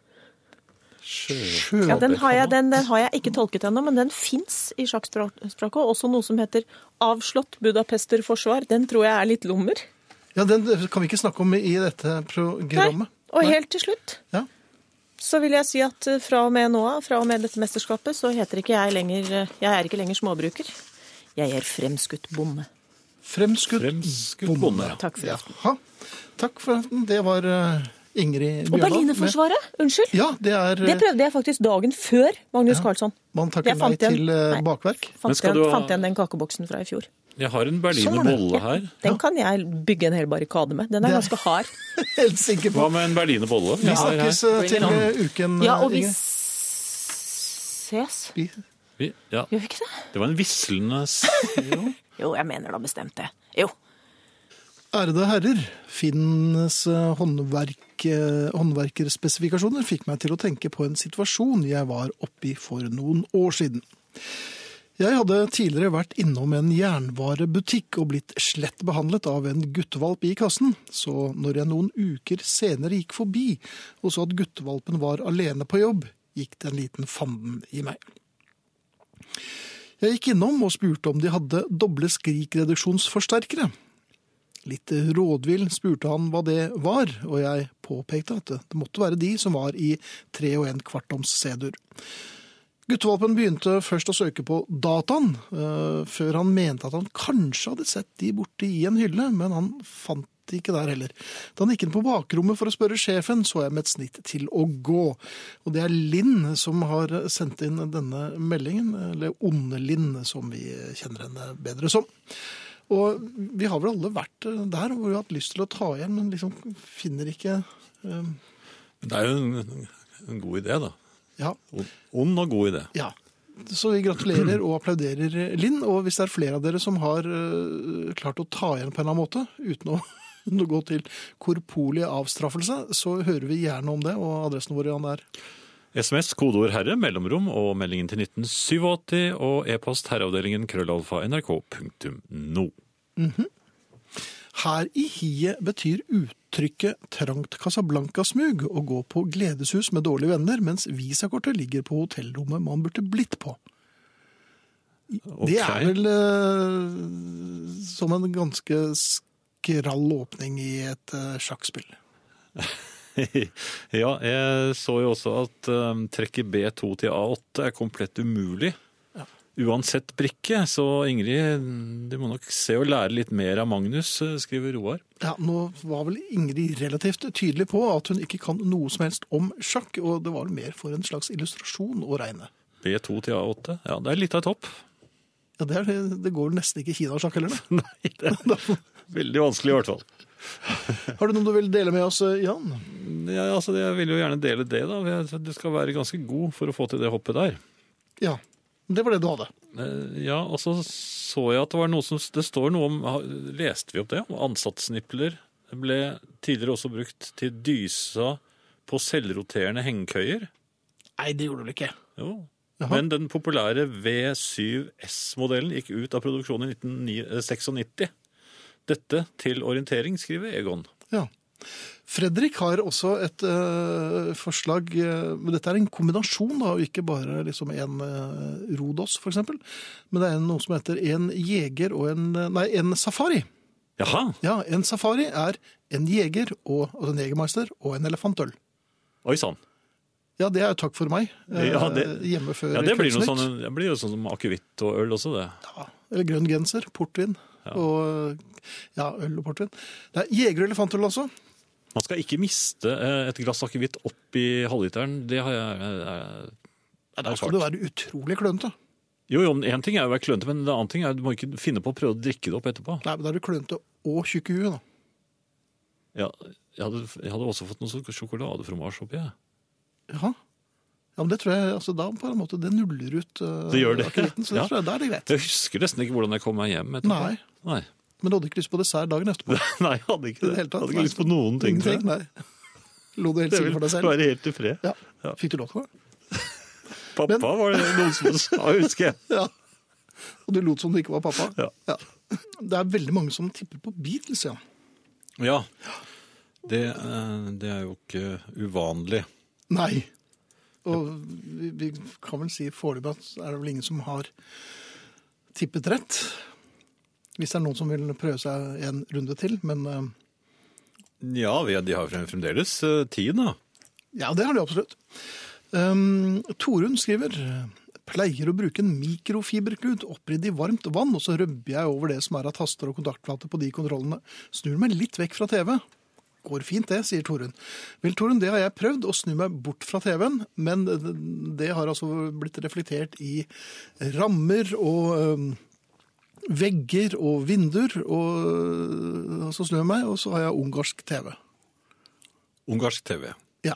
Speaker 1: Sjø...
Speaker 3: Ja, den, har jeg, den, den har jeg ikke tolket ennå, men den fins i sjakkspråket. og Også noe som heter avslått budapesterforsvar. Den tror jeg er litt lommer.
Speaker 1: Ja, den kan vi ikke snakke om i dette programmet.
Speaker 3: Og helt til slutt
Speaker 1: Ja.
Speaker 3: så vil jeg si at eh, fra og med nå av, fra og med dette mesterskapet, så heter ikke jeg lenger eh, Jeg er ikke lenger småbruker. Jeg er fremskutt bonde.
Speaker 1: Fremskutt
Speaker 2: Fremskutt bonde.
Speaker 3: Takk for i aften.
Speaker 1: Jaha. Takk for aften. Det var eh, Ingrid
Speaker 3: Og
Speaker 1: Bjørnland.
Speaker 3: Berlinerforsvaret! Unnskyld.
Speaker 1: Ja, det er eh,
Speaker 3: Det prøvde jeg faktisk dagen før Magnus Carlsson.
Speaker 1: Man
Speaker 3: Jeg
Speaker 1: takker nei
Speaker 3: fant igjen-
Speaker 1: til eh,
Speaker 3: Nei.
Speaker 1: bakverk.
Speaker 2: Men
Speaker 3: Fant
Speaker 2: skal
Speaker 3: igjen,
Speaker 2: du ha-
Speaker 3: fant igjen den kakeboksen fra i fjor.
Speaker 2: Jeg har en berliner
Speaker 1: Sånn er det.
Speaker 2: bolle her.
Speaker 3: Den kan jeg bygge en hel barrikade med. Den er
Speaker 1: Det-
Speaker 3: ganske hard.
Speaker 1: Helt sikker på.
Speaker 2: Hva med en berliner bolle?
Speaker 1: Vi
Speaker 2: Jeg har her.
Speaker 1: snakkes eh, til eh, uken,
Speaker 3: Ja,
Speaker 1: eh,
Speaker 3: og vi
Speaker 1: Ingrid.
Speaker 3: ses.
Speaker 1: Vi...
Speaker 2: Vi- Ja,
Speaker 3: Gjør vi ikke det?
Speaker 2: det var en vislende s-
Speaker 3: Jo, jeg mener da bestemt det. Jo.
Speaker 1: Ærede herrer, Finns eh, håndverk, eh, håndverkerspesifikasjoner fikk meg til å tenke på en situasjon jeg var oppi for noen år siden. Jeg hadde tidligere vært innom en jernvarebutikk og blitt slett behandlet av en guttevalp i kassen, så når jeg noen uker senere gikk forbi og så at guttevalpen var alene på jobb, gikk det en liten fanden i meg. Jeg gikk innom og spurte om de hadde doble skrikreduksjonsforsterkere. Litt rådvill spurte han hva det var, og jeg påpekte at det- det måtte være de som var i tre og en kvartoms sedur. Guttevalpen begynte først å søke på dataen, eh, før han mente at han kanskje hadde sett de borte i en hylle, men han fant de ikke der heller. Da han gikk inn på bakrommet for å spørre sjefen, så jeg med et snitt til å gå. Og det er Linn som har sendt inn denne meldingen, eller Onde Linn, som vi kjenner henne bedre som. Og vi har vel alle vært eh, der hvor vi har hatt lyst til å ta igjen, men liksom finner ikke eh,
Speaker 2: Det er jo en, en god idé, da.
Speaker 1: Ja.
Speaker 2: On- Ond og god idé.
Speaker 1: Ja. Så vi gratulerer og applauderer Linn. Og hvis det er flere av dere som har eh, klart å ta igjen på en eller annen måte, uten å, uten å gå til korporlig avstraffelse, så hører vi gjerne om det. Og adressen vår Jan, er
Speaker 2: SMS, kodeord 'herre', mellomrom og meldingen til 1987 og e-post herreavdelingen krøllalfa nrk.no.
Speaker 1: Her i hiet betyr uttrykket trangt Casablanca-smug å gå på gledeshus med dårlige venner, mens visakortet ligger på hotellrommet man burde blitt på. Det er
Speaker 2: Ok.
Speaker 1: vel eh, som en ganske skrall åpning i et eh, sjakkspill.
Speaker 2: ja, jeg så jo også at um, trekket B2 til A8 er komplett umulig. Uansett brikke, så Ingrid, du må nok se og lære litt mer av Magnus, eh, skriver Roar.
Speaker 1: Ja, Nå var vel Ingrid relativt tydelig på at hun ikke kan noe som helst om sjakk, og det var vel mer for en slags illustrasjon å regne.
Speaker 2: B2 til A8, ja, det er litt av et hopp.
Speaker 1: Ja, Det, er, det går nesten ikke i Kina-sjakk heller, det.
Speaker 2: Nei, det er veldig vanskelig i hvert fall.
Speaker 1: Har du noe du vil dele med oss, eh, Jan?
Speaker 2: Ja, altså, jeg vil jo gjerne dele det, da. Jeg- Du skal være ganske god for å få til det hoppet der.
Speaker 1: Ja. Det var det du hadde.
Speaker 2: Eh, Ja, og så så jeg at det var noe som Det står noe om ha- Leste vi opp det? Om ansattsnipler ble tidligere også brukt til dysa på selvroterende hengekøyer.
Speaker 1: Nei, det gjorde du vel ikke.
Speaker 2: Jo.
Speaker 1: Jaha.
Speaker 2: Men den populære V7S-modellen gikk ut av produksjon i 1996. Dette til orientering, skriver Egon.
Speaker 1: Ja. Fredrik har også et eh, forslag eh, men Dette er en kombinasjon, da, og ikke bare liksom en eh, Rodos, f.eks. Men det er noe som heter en jeger og en eh, Nei, en safari.
Speaker 2: Jaha!
Speaker 1: Ja, en safari er en jeger og altså en jegermeister og en elefantøl.
Speaker 2: Oi sann.
Speaker 1: Ja, det er jo takk for meg. eh,
Speaker 2: Ja, det-
Speaker 1: hjemme før
Speaker 2: Ja, det blir, noe
Speaker 1: Kveldsnytt.
Speaker 2: sånn, det blir jo sånn som akevitt og øl også, det.
Speaker 1: Ja, eller grønn genser, portvin og ja, øl og portvin. Det er jeger og elefantøl også.
Speaker 2: Man skal ikke miste eh, et glass akevitt oppi halvliteren. Det har jeg eh, eh,
Speaker 1: Da skal du være utrolig klønete.
Speaker 2: Jo, jo, men En ting er jo å være klønete, men en annen ting er at du må ikke finne på å prøve å drikke det opp etterpå.
Speaker 1: Nei, men da er du klønete og tjukk i huet, da.
Speaker 2: Ja, jeg, hadde, jeg hadde også fått noe sånn sjokoladefromasje oppi. jeg.
Speaker 1: Jaha. Ja, men det tror jeg, altså da på en måte, det nuller ut eh,
Speaker 2: Det gjør det.
Speaker 1: akevitten, så det
Speaker 2: Ja.
Speaker 1: tror jeg, da er det greit.
Speaker 2: Jeg husker nesten ikke hvordan jeg kom meg hjem etterpå.
Speaker 1: Nei,
Speaker 2: Nei,
Speaker 1: men du hadde ikke lyst på dessert dagen etterpå.
Speaker 2: Nei jeg hadde ikke
Speaker 1: I det
Speaker 2: det.
Speaker 1: hele tatt,
Speaker 2: hadde
Speaker 1: nei.
Speaker 2: ikke lyst på noen ting. tror jeg.
Speaker 1: Ingenting, nei. Lo du helt
Speaker 2: Jeg
Speaker 1: sikkert for deg
Speaker 2: ville
Speaker 1: selv?
Speaker 2: være helt i fred.
Speaker 1: Ja. Fikk du lov til det?
Speaker 2: Pappa var det noen som sa, husker jeg.
Speaker 1: Ja. Og du lot som du ikke var pappa?
Speaker 2: Ja.
Speaker 1: Det er veldig mange som tipper på Beatles, ja.
Speaker 2: Ja, det, eh, det er jo ikke uvanlig.
Speaker 1: Nei. Og vi, vi kan vel si foreløpig at er det vel ingen som har tippet rett. Hvis det er noen som vil prøve seg en runde til, men eh,
Speaker 2: Ja, vi- de har frem- fremdeles eh, tid, da.
Speaker 1: Ja, det har de absolutt. Um, Torunn skriver Pleier å bruke en mikrofiberklut oppridd i varmt vann, og så rubber jeg over det som er av taster og kontaktflater på de kontrollene. Snur meg litt vekk fra TV. Går fint det, sier Torunn. Vel, Torunn, det har jeg prøvd, å snu meg bort fra TV-en, men det har altså blitt reflektert i rammer og um, vegger og vinduer, og uh, så snur jeg meg, og så har jeg ungarsk TV.
Speaker 2: Ungarsk TV.
Speaker 1: Ja.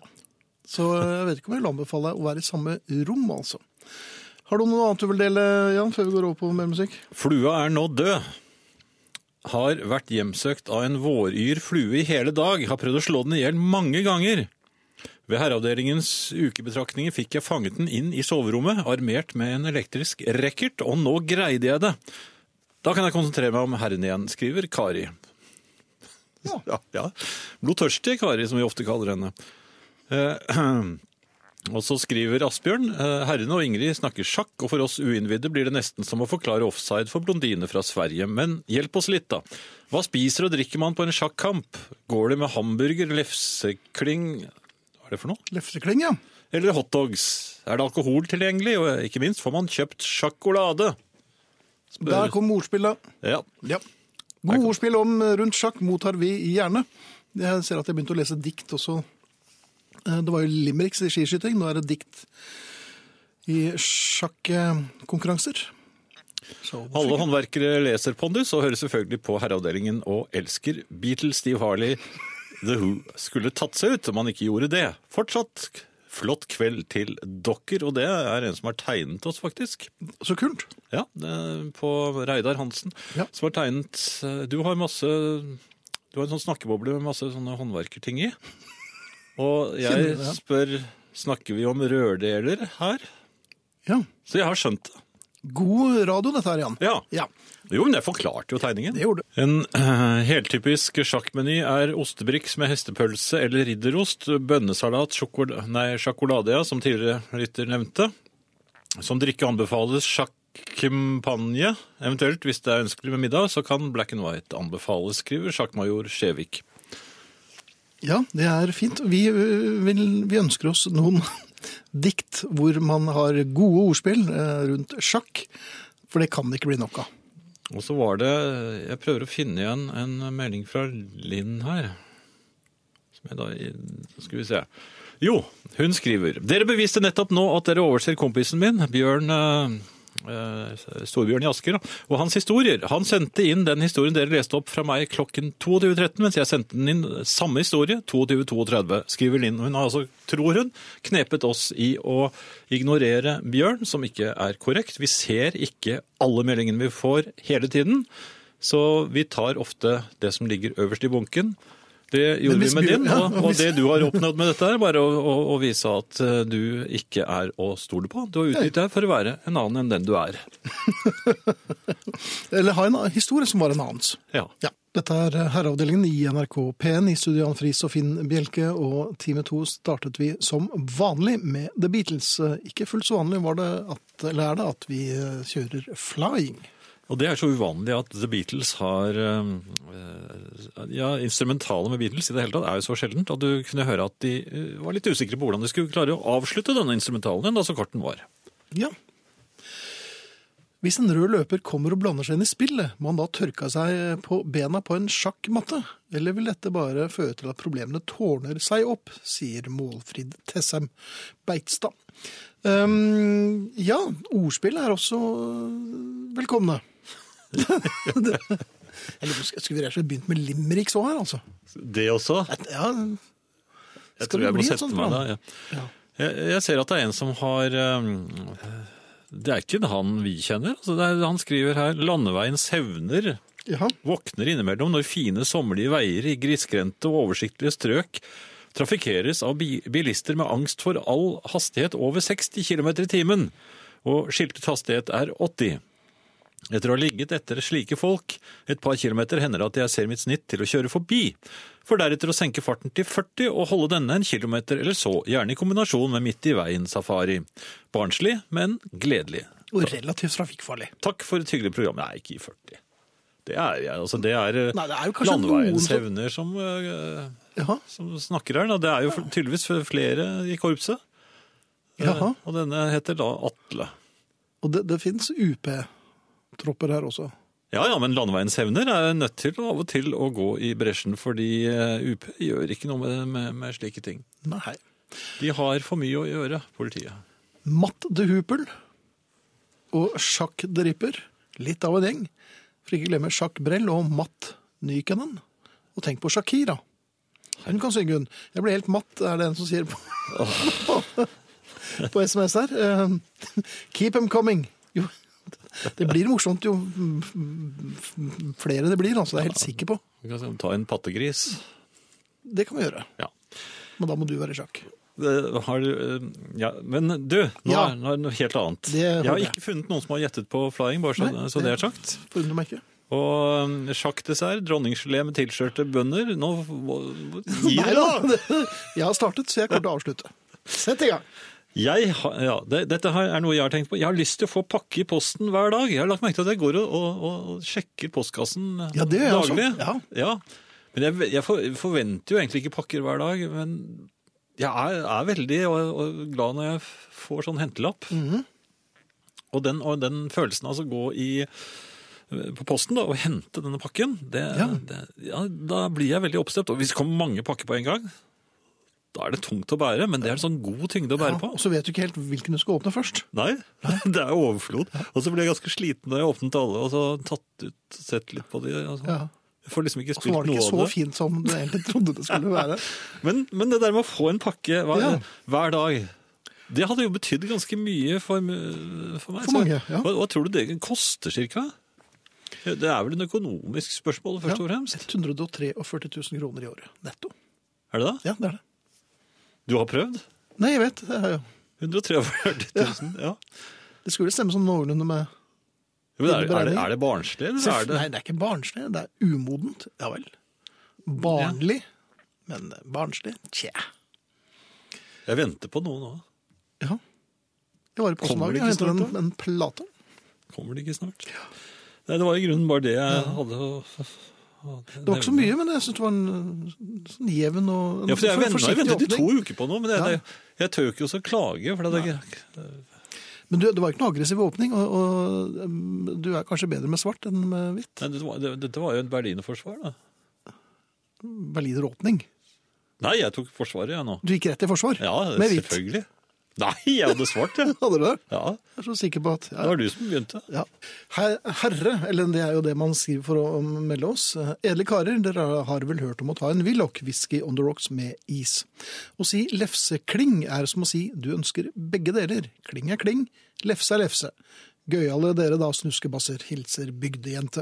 Speaker 1: Så jeg vet ikke om jeg vil anbefale deg å være i samme rom, altså. Har du noe annet du vil dele, Jan, før vi går over på mer musikk?
Speaker 2: Flua er nå død. Har vært hjemsøkt av en våryr flue i hele dag. Har prøvd å slå den i hjel mange ganger. Ved herreavdelingens ukebetraktninger fikk jeg fanget den inn i soverommet, armert med en elektrisk racket, og nå greide jeg det. Da kan jeg konsentrere meg om herren igjen, skriver Kari.
Speaker 1: Ja.
Speaker 2: ja. Blodtørstige Kari, som vi ofte kaller henne. Eh, Og så skriver Asbjørn eh, herrene og Ingrid snakker sjakk, og for oss uinnvidde blir det nesten som å forklare offside for blondine fra Sverige. Men hjelp oss litt, da. Hva spiser og drikker man på en sjakkamp? Går det med hamburger, lefsekling Hva er det for noe?
Speaker 1: Lefsekling, ja.
Speaker 2: Eller hotdogs? Er det alkohol tilgjengelig? Og eh, ikke minst, får man kjøpt sjokolade?
Speaker 1: Der kom ordspillet.
Speaker 2: Ja.
Speaker 1: Ja. Gode ordspill om eh, rundt sjakk mottar vi gjerne. Jeg ser at jeg begynte å lese dikt også. Eh, Det var jo limericks i skiskyting, nå er det dikt i sjakkonkurranser. Så
Speaker 2: Alle håndverkere leser Pondus og hører selvfølgelig på Herreavdelingen og elsker Beatles, Steve Harley, The Who. Skulle tatt seg ut om han ikke gjorde det. Fortsatt k- flott kveld til dokker, og det er en som har tegnet oss, faktisk.
Speaker 1: så kult.
Speaker 2: Ja, det- på Reidar Hansen,
Speaker 1: Ja.
Speaker 2: som har tegnet eh, Du har masse Du har en sånn snakkeboble med masse sånne håndverkerting i. Og
Speaker 1: Kjenner
Speaker 2: jeg
Speaker 1: du det?
Speaker 2: spør Snakker vi om rørdeler her?
Speaker 1: Ja.
Speaker 2: Så jeg har skjønt det.
Speaker 1: God radio dette her, Jan.
Speaker 2: Ja.
Speaker 1: Ja,
Speaker 2: Jo, men jeg forklarte jo tegningen.
Speaker 1: det gjorde du.
Speaker 2: En eh, heltypisk sjakkmeny er ostebriks med hestepølse eller ridderost, bønnesalat, sjokol nei, sjokolade, ja, som tidligere lytter nevnte. Som drikke anbefales sjakkmpanje, eventuelt hvis det er ønskelig med middag, så kan black and white anbefales, skriver sjakkmajor Skjevik.
Speaker 1: Ja, det er fint. Vi, øh, vil, vi ønsker oss noen dikt hvor man har gode ordspill eh, rundt sjakk, for det kan det ikke bli nok av.
Speaker 2: Og så var det, jeg prøver å finne igjen en melding fra Linn her. Som jeg da, skal vi se. Jo, hun skriver. Dere beviste nettopp nå at dere overser kompisen min, Bjørn... eh, eh, Storbjørn i Asker, da, og hans historier. Han sendte inn den historien dere leste opp fra meg klokken 22.13, mens jeg sendte den inn samme historie 22.32, skriver Linn. Hun har altså, tror hun, knepet oss i å ignorere Bjørn, som ikke er korrekt. Vi ser ikke alle meldingene vi får hele tiden, så vi tar ofte det som ligger øverst i bunken. Det gjorde
Speaker 1: Men
Speaker 2: vi
Speaker 1: hvis
Speaker 2: med
Speaker 1: Bjørn-
Speaker 2: din,
Speaker 1: ja, og
Speaker 2: og, og
Speaker 1: hvis-
Speaker 2: det du har oppnådd med dette, er bare å, å, å vise at eh, du ikke er å stole på. Du har utgitt deg for å være en annen enn den du er.
Speaker 1: Eller ha en historie som var en annens.
Speaker 2: Ja.
Speaker 1: Ja. Dette er øh, herreavdelingen i NRK P1 i studio Jan Friis og Finn Bjelke, og time to startet vi som vanlig med The Beatles. Ikke fullt så vanlig var det at, eller er det at vi eh, kjører flying.
Speaker 2: Og det er så uvanlig at The Beatles har eh, Ja, instrumentalet med Beatles i det hele tatt er jo så sjeldent at du kunne høre at de eh, var litt usikre på hvordan de skulle klare å avslutte denne instrumentalen igjen, da så kort den var.
Speaker 1: Ja. Hvis en rød løper kommer og blander seg inn i spillet, må han da tørke seg på bena på en sjakkmatte? Eller vil dette bare føre til at problemene tårner seg opp, sier Målfrid Tessem Beitstad. Ehm, ja, ordspill er også øh, velkomne. Det- Jeg lurer på, skal- Skulle vi rett og slett begynt med limericks òg her, altså?
Speaker 2: Det også?
Speaker 1: Ja,
Speaker 2: Jeg
Speaker 1: Skal
Speaker 2: tror
Speaker 1: det
Speaker 2: jeg må
Speaker 1: bli en
Speaker 2: sette
Speaker 1: sånn plan?
Speaker 2: meg da. Ja.
Speaker 1: Ja.
Speaker 2: Jeg, jeg ser at det er en som har eh, Det er ikke han vi kjenner. Altså, det er, han skriver her 'Landeveiens hevner'.
Speaker 1: ja.
Speaker 2: Våkner innimellom når fine sommerlige veier i grisgrendte og oversiktlige strøk trafikkeres av bi- bilister med angst for all hastighet over 60 km i timen, og skiltet hastighet er 80. Etter å ha ligget etter slike folk et par kilometer hender det at jeg ser mitt snitt til å kjøre forbi, for deretter å senke farten til 40 og holde denne en kilometer eller så, gjerne i kombinasjon med midt i veien-safari. Barnslig, men gledelig.
Speaker 1: Og relativt trafikkfarlig.
Speaker 2: Takk for et hyggelig program. Nei, ikke i 40. Det er, altså, det er,
Speaker 1: Nei, det er jo kanskje noen
Speaker 2: landeveiens
Speaker 1: som-
Speaker 2: hevner som, eh,
Speaker 1: Jaha.
Speaker 2: som snakker her. Da. Det er jo tydeligvis flere i korpset. Eh,
Speaker 1: Jaha.
Speaker 2: Og denne heter da Atle.
Speaker 1: Og det, det fins UP-tropper her også.
Speaker 2: Ja, ja, men landeveiens hevner er nødt til å- av og til å gå i bresjen, fordi eh, UP gjør ikke noe med, med, med slike ting.
Speaker 1: Nei.
Speaker 2: De har for mye å gjøre, politiet.
Speaker 1: Matt de Hupel og Sjakk de Ripper. Litt av en gjeng. For ikke glemme Sjakk Brell og Matt Nykänen. Og tenk på Shakira. Hun kan synge, hun. Jeg ble helt matt, er det en som sier på, på SMS her. Eh, Keep them coming. Jo, det blir morsomt jo flere det blir, altså. Det er jeg helt sikker på.
Speaker 2: Vi kan se- ta en pattegris.
Speaker 1: Det kan vi gjøre.
Speaker 2: Ja.
Speaker 1: Men da må du være i sjakk.
Speaker 2: Det har, du, eh, ja, men du, nå
Speaker 1: Ja.
Speaker 2: er nå er det noe helt annet.
Speaker 1: Det
Speaker 2: jeg har
Speaker 1: håper jeg.
Speaker 2: ikke funnet noen som har gjettet på flying, bare så,
Speaker 1: Nei,
Speaker 2: så det er sagt.
Speaker 1: Forundrer meg ikke.
Speaker 2: Og um, sjakkdessert, dronninggelé med tilskjørte bønder. Nå hva- hva- gi
Speaker 1: Nei
Speaker 2: dere, da!
Speaker 1: da. Jeg har startet, så jeg kommer til å avslutte. Sett i gang.
Speaker 2: Jeg, har- ja, det, dette her er noe jeg har tenkt på. Jeg har lyst til å få pakke i posten hver dag. Jeg har lagt merke til at jeg går og, og, og sjekker postkassen
Speaker 1: Ja, det gjør jeg også.
Speaker 2: daglig.
Speaker 1: Ja.
Speaker 2: Ja. Men jeg, jeg for, forventer jo egentlig ikke pakker hver dag, men jeg er, er veldig og, og glad når jeg får sånn hentelapp.
Speaker 1: Mhm.
Speaker 2: og, den, og den følelsen av å gå i eh, på posten da, og hente denne pakken, det,
Speaker 1: Ja.
Speaker 2: Det, ja, da blir jeg veldig oppstemt. Og hvis det kommer mange pakker på en gang, da er det tungt å bære, men det er en sånn god tyngde å bære på.
Speaker 1: Og så vet du ikke helt hvilken du skal åpne først.
Speaker 2: Nei, det er overflod. Og så ble jeg ganske sliten da jeg åpnet alle og så tatt ut, sett litt på de. og så-
Speaker 1: Ja.
Speaker 2: Jeg får liksom ikke
Speaker 1: Og så var
Speaker 2: spilt
Speaker 1: det ikke
Speaker 2: noe
Speaker 1: så
Speaker 2: av det.
Speaker 1: fint som du egentlig trodde det skulle være.
Speaker 2: Men, men det der med å få en pakke hver,
Speaker 1: Ja.
Speaker 2: hver dag, det hadde jo betydd ganske mye for, m- for meg.
Speaker 1: For
Speaker 2: Så
Speaker 1: mange, ja.
Speaker 2: hva, hva tror du det koster cirka? Det er vel en økonomisk spørsmål først og fremst.
Speaker 1: 143 000 kroner i året netto.
Speaker 2: Er det det?
Speaker 1: Ja, det er det.
Speaker 2: Du har prøvd?
Speaker 1: Nei, jeg vet. Det, er jo-
Speaker 2: 143 000, ja.
Speaker 1: det skulle stemme sånn noenlunde med
Speaker 2: Men er, er, det, er det barnslig, eller er det
Speaker 1: Nei, det er ikke barnslig. Det er umodent. Ja vel. Barnlig. Men barnslig? Tja.
Speaker 2: Jeg venter på noe nå.
Speaker 1: Ja. Jeg var i posten
Speaker 2: Kommer
Speaker 1: i dag.
Speaker 2: det
Speaker 1: Jeg
Speaker 2: ikke
Speaker 1: hentet
Speaker 2: snart,
Speaker 1: en, en plate.
Speaker 2: Kommer det ikke snart? Nei, det var i grunnen bare det jeg hadde å å
Speaker 1: Det var ikke så
Speaker 2: nevne.
Speaker 1: mye, men jeg syns det var en øh, sånn jevn og en
Speaker 2: Ja,
Speaker 1: for-
Speaker 2: for jeg venter, jeg
Speaker 1: forsiktig
Speaker 2: ventet i to
Speaker 1: åpning.
Speaker 2: uker på noe, men jeg,
Speaker 1: Ja.
Speaker 2: det, jeg tør jo ikke også klage. For det, er ikke-
Speaker 1: Men du, det var ikke noe aggressiv åpning, og, og øhm, du er kanskje bedre med svart enn med hvitt.
Speaker 2: nei, det, var, det, dette var jo et Berlinerforsvar, da.
Speaker 1: Berliner åpning.
Speaker 2: Nei, jeg tok Forsvaret, jeg nå.
Speaker 1: Du gikk rett i forsvar
Speaker 2: Ja,
Speaker 1: med hvitt.
Speaker 2: selvfølgelig. Nei, jeg hadde svart, jeg.
Speaker 1: Hadde du det?
Speaker 2: Ja,
Speaker 1: Jeg er så sikker på at
Speaker 2: det
Speaker 1: ja,
Speaker 2: var du som begynte.
Speaker 1: ja. Her- Herre, eller det er jo det man skriver for å melde oss. Edle karer, dere har vel hørt om å ta en Willoch whisky on the rocks med is. Å si lefsekling er som å si du ønsker begge deler. Kling er kling, lefse er lefse. Gøyale dere da, snuskebasser. Hilser bygdejente.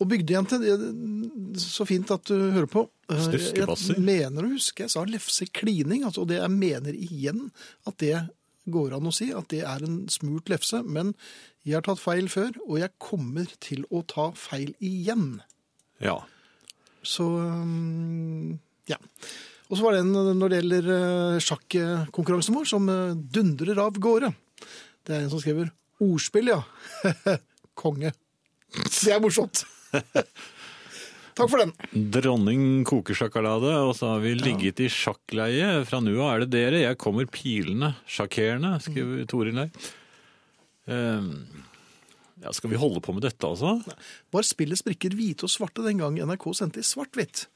Speaker 1: Og bygdejente, det- så fint at du hører på. Eh,
Speaker 2: Snuskebasser?
Speaker 1: Jeg mener å huske, jeg sa lefseklining, altså, og det jeg mener igjen at det går an å si, at det er en smurt lefse. Men jeg har tatt feil før, og jeg kommer til å ta feil igjen.
Speaker 2: Ja.
Speaker 1: Så um, ja. Og så var det en når det gjelder eh, sjakkonkurransen vår, som eh, dundrer av gårde. Det er en som skriver 'ordspill', ja. Konge. Det er morsomt. Takk for den.
Speaker 2: Dronning koker sjokolade, og så har vi ligget i sjakkleie. Fra nå av er det dere, jeg kommer pilende, sjakkerende,
Speaker 1: Mm.
Speaker 2: skriver Toril her. Ehm, ja, skal vi holde på med dette, altså?
Speaker 1: Var spillet sprikker hvite og svarte den gang NRK sendte i svart-hvitt?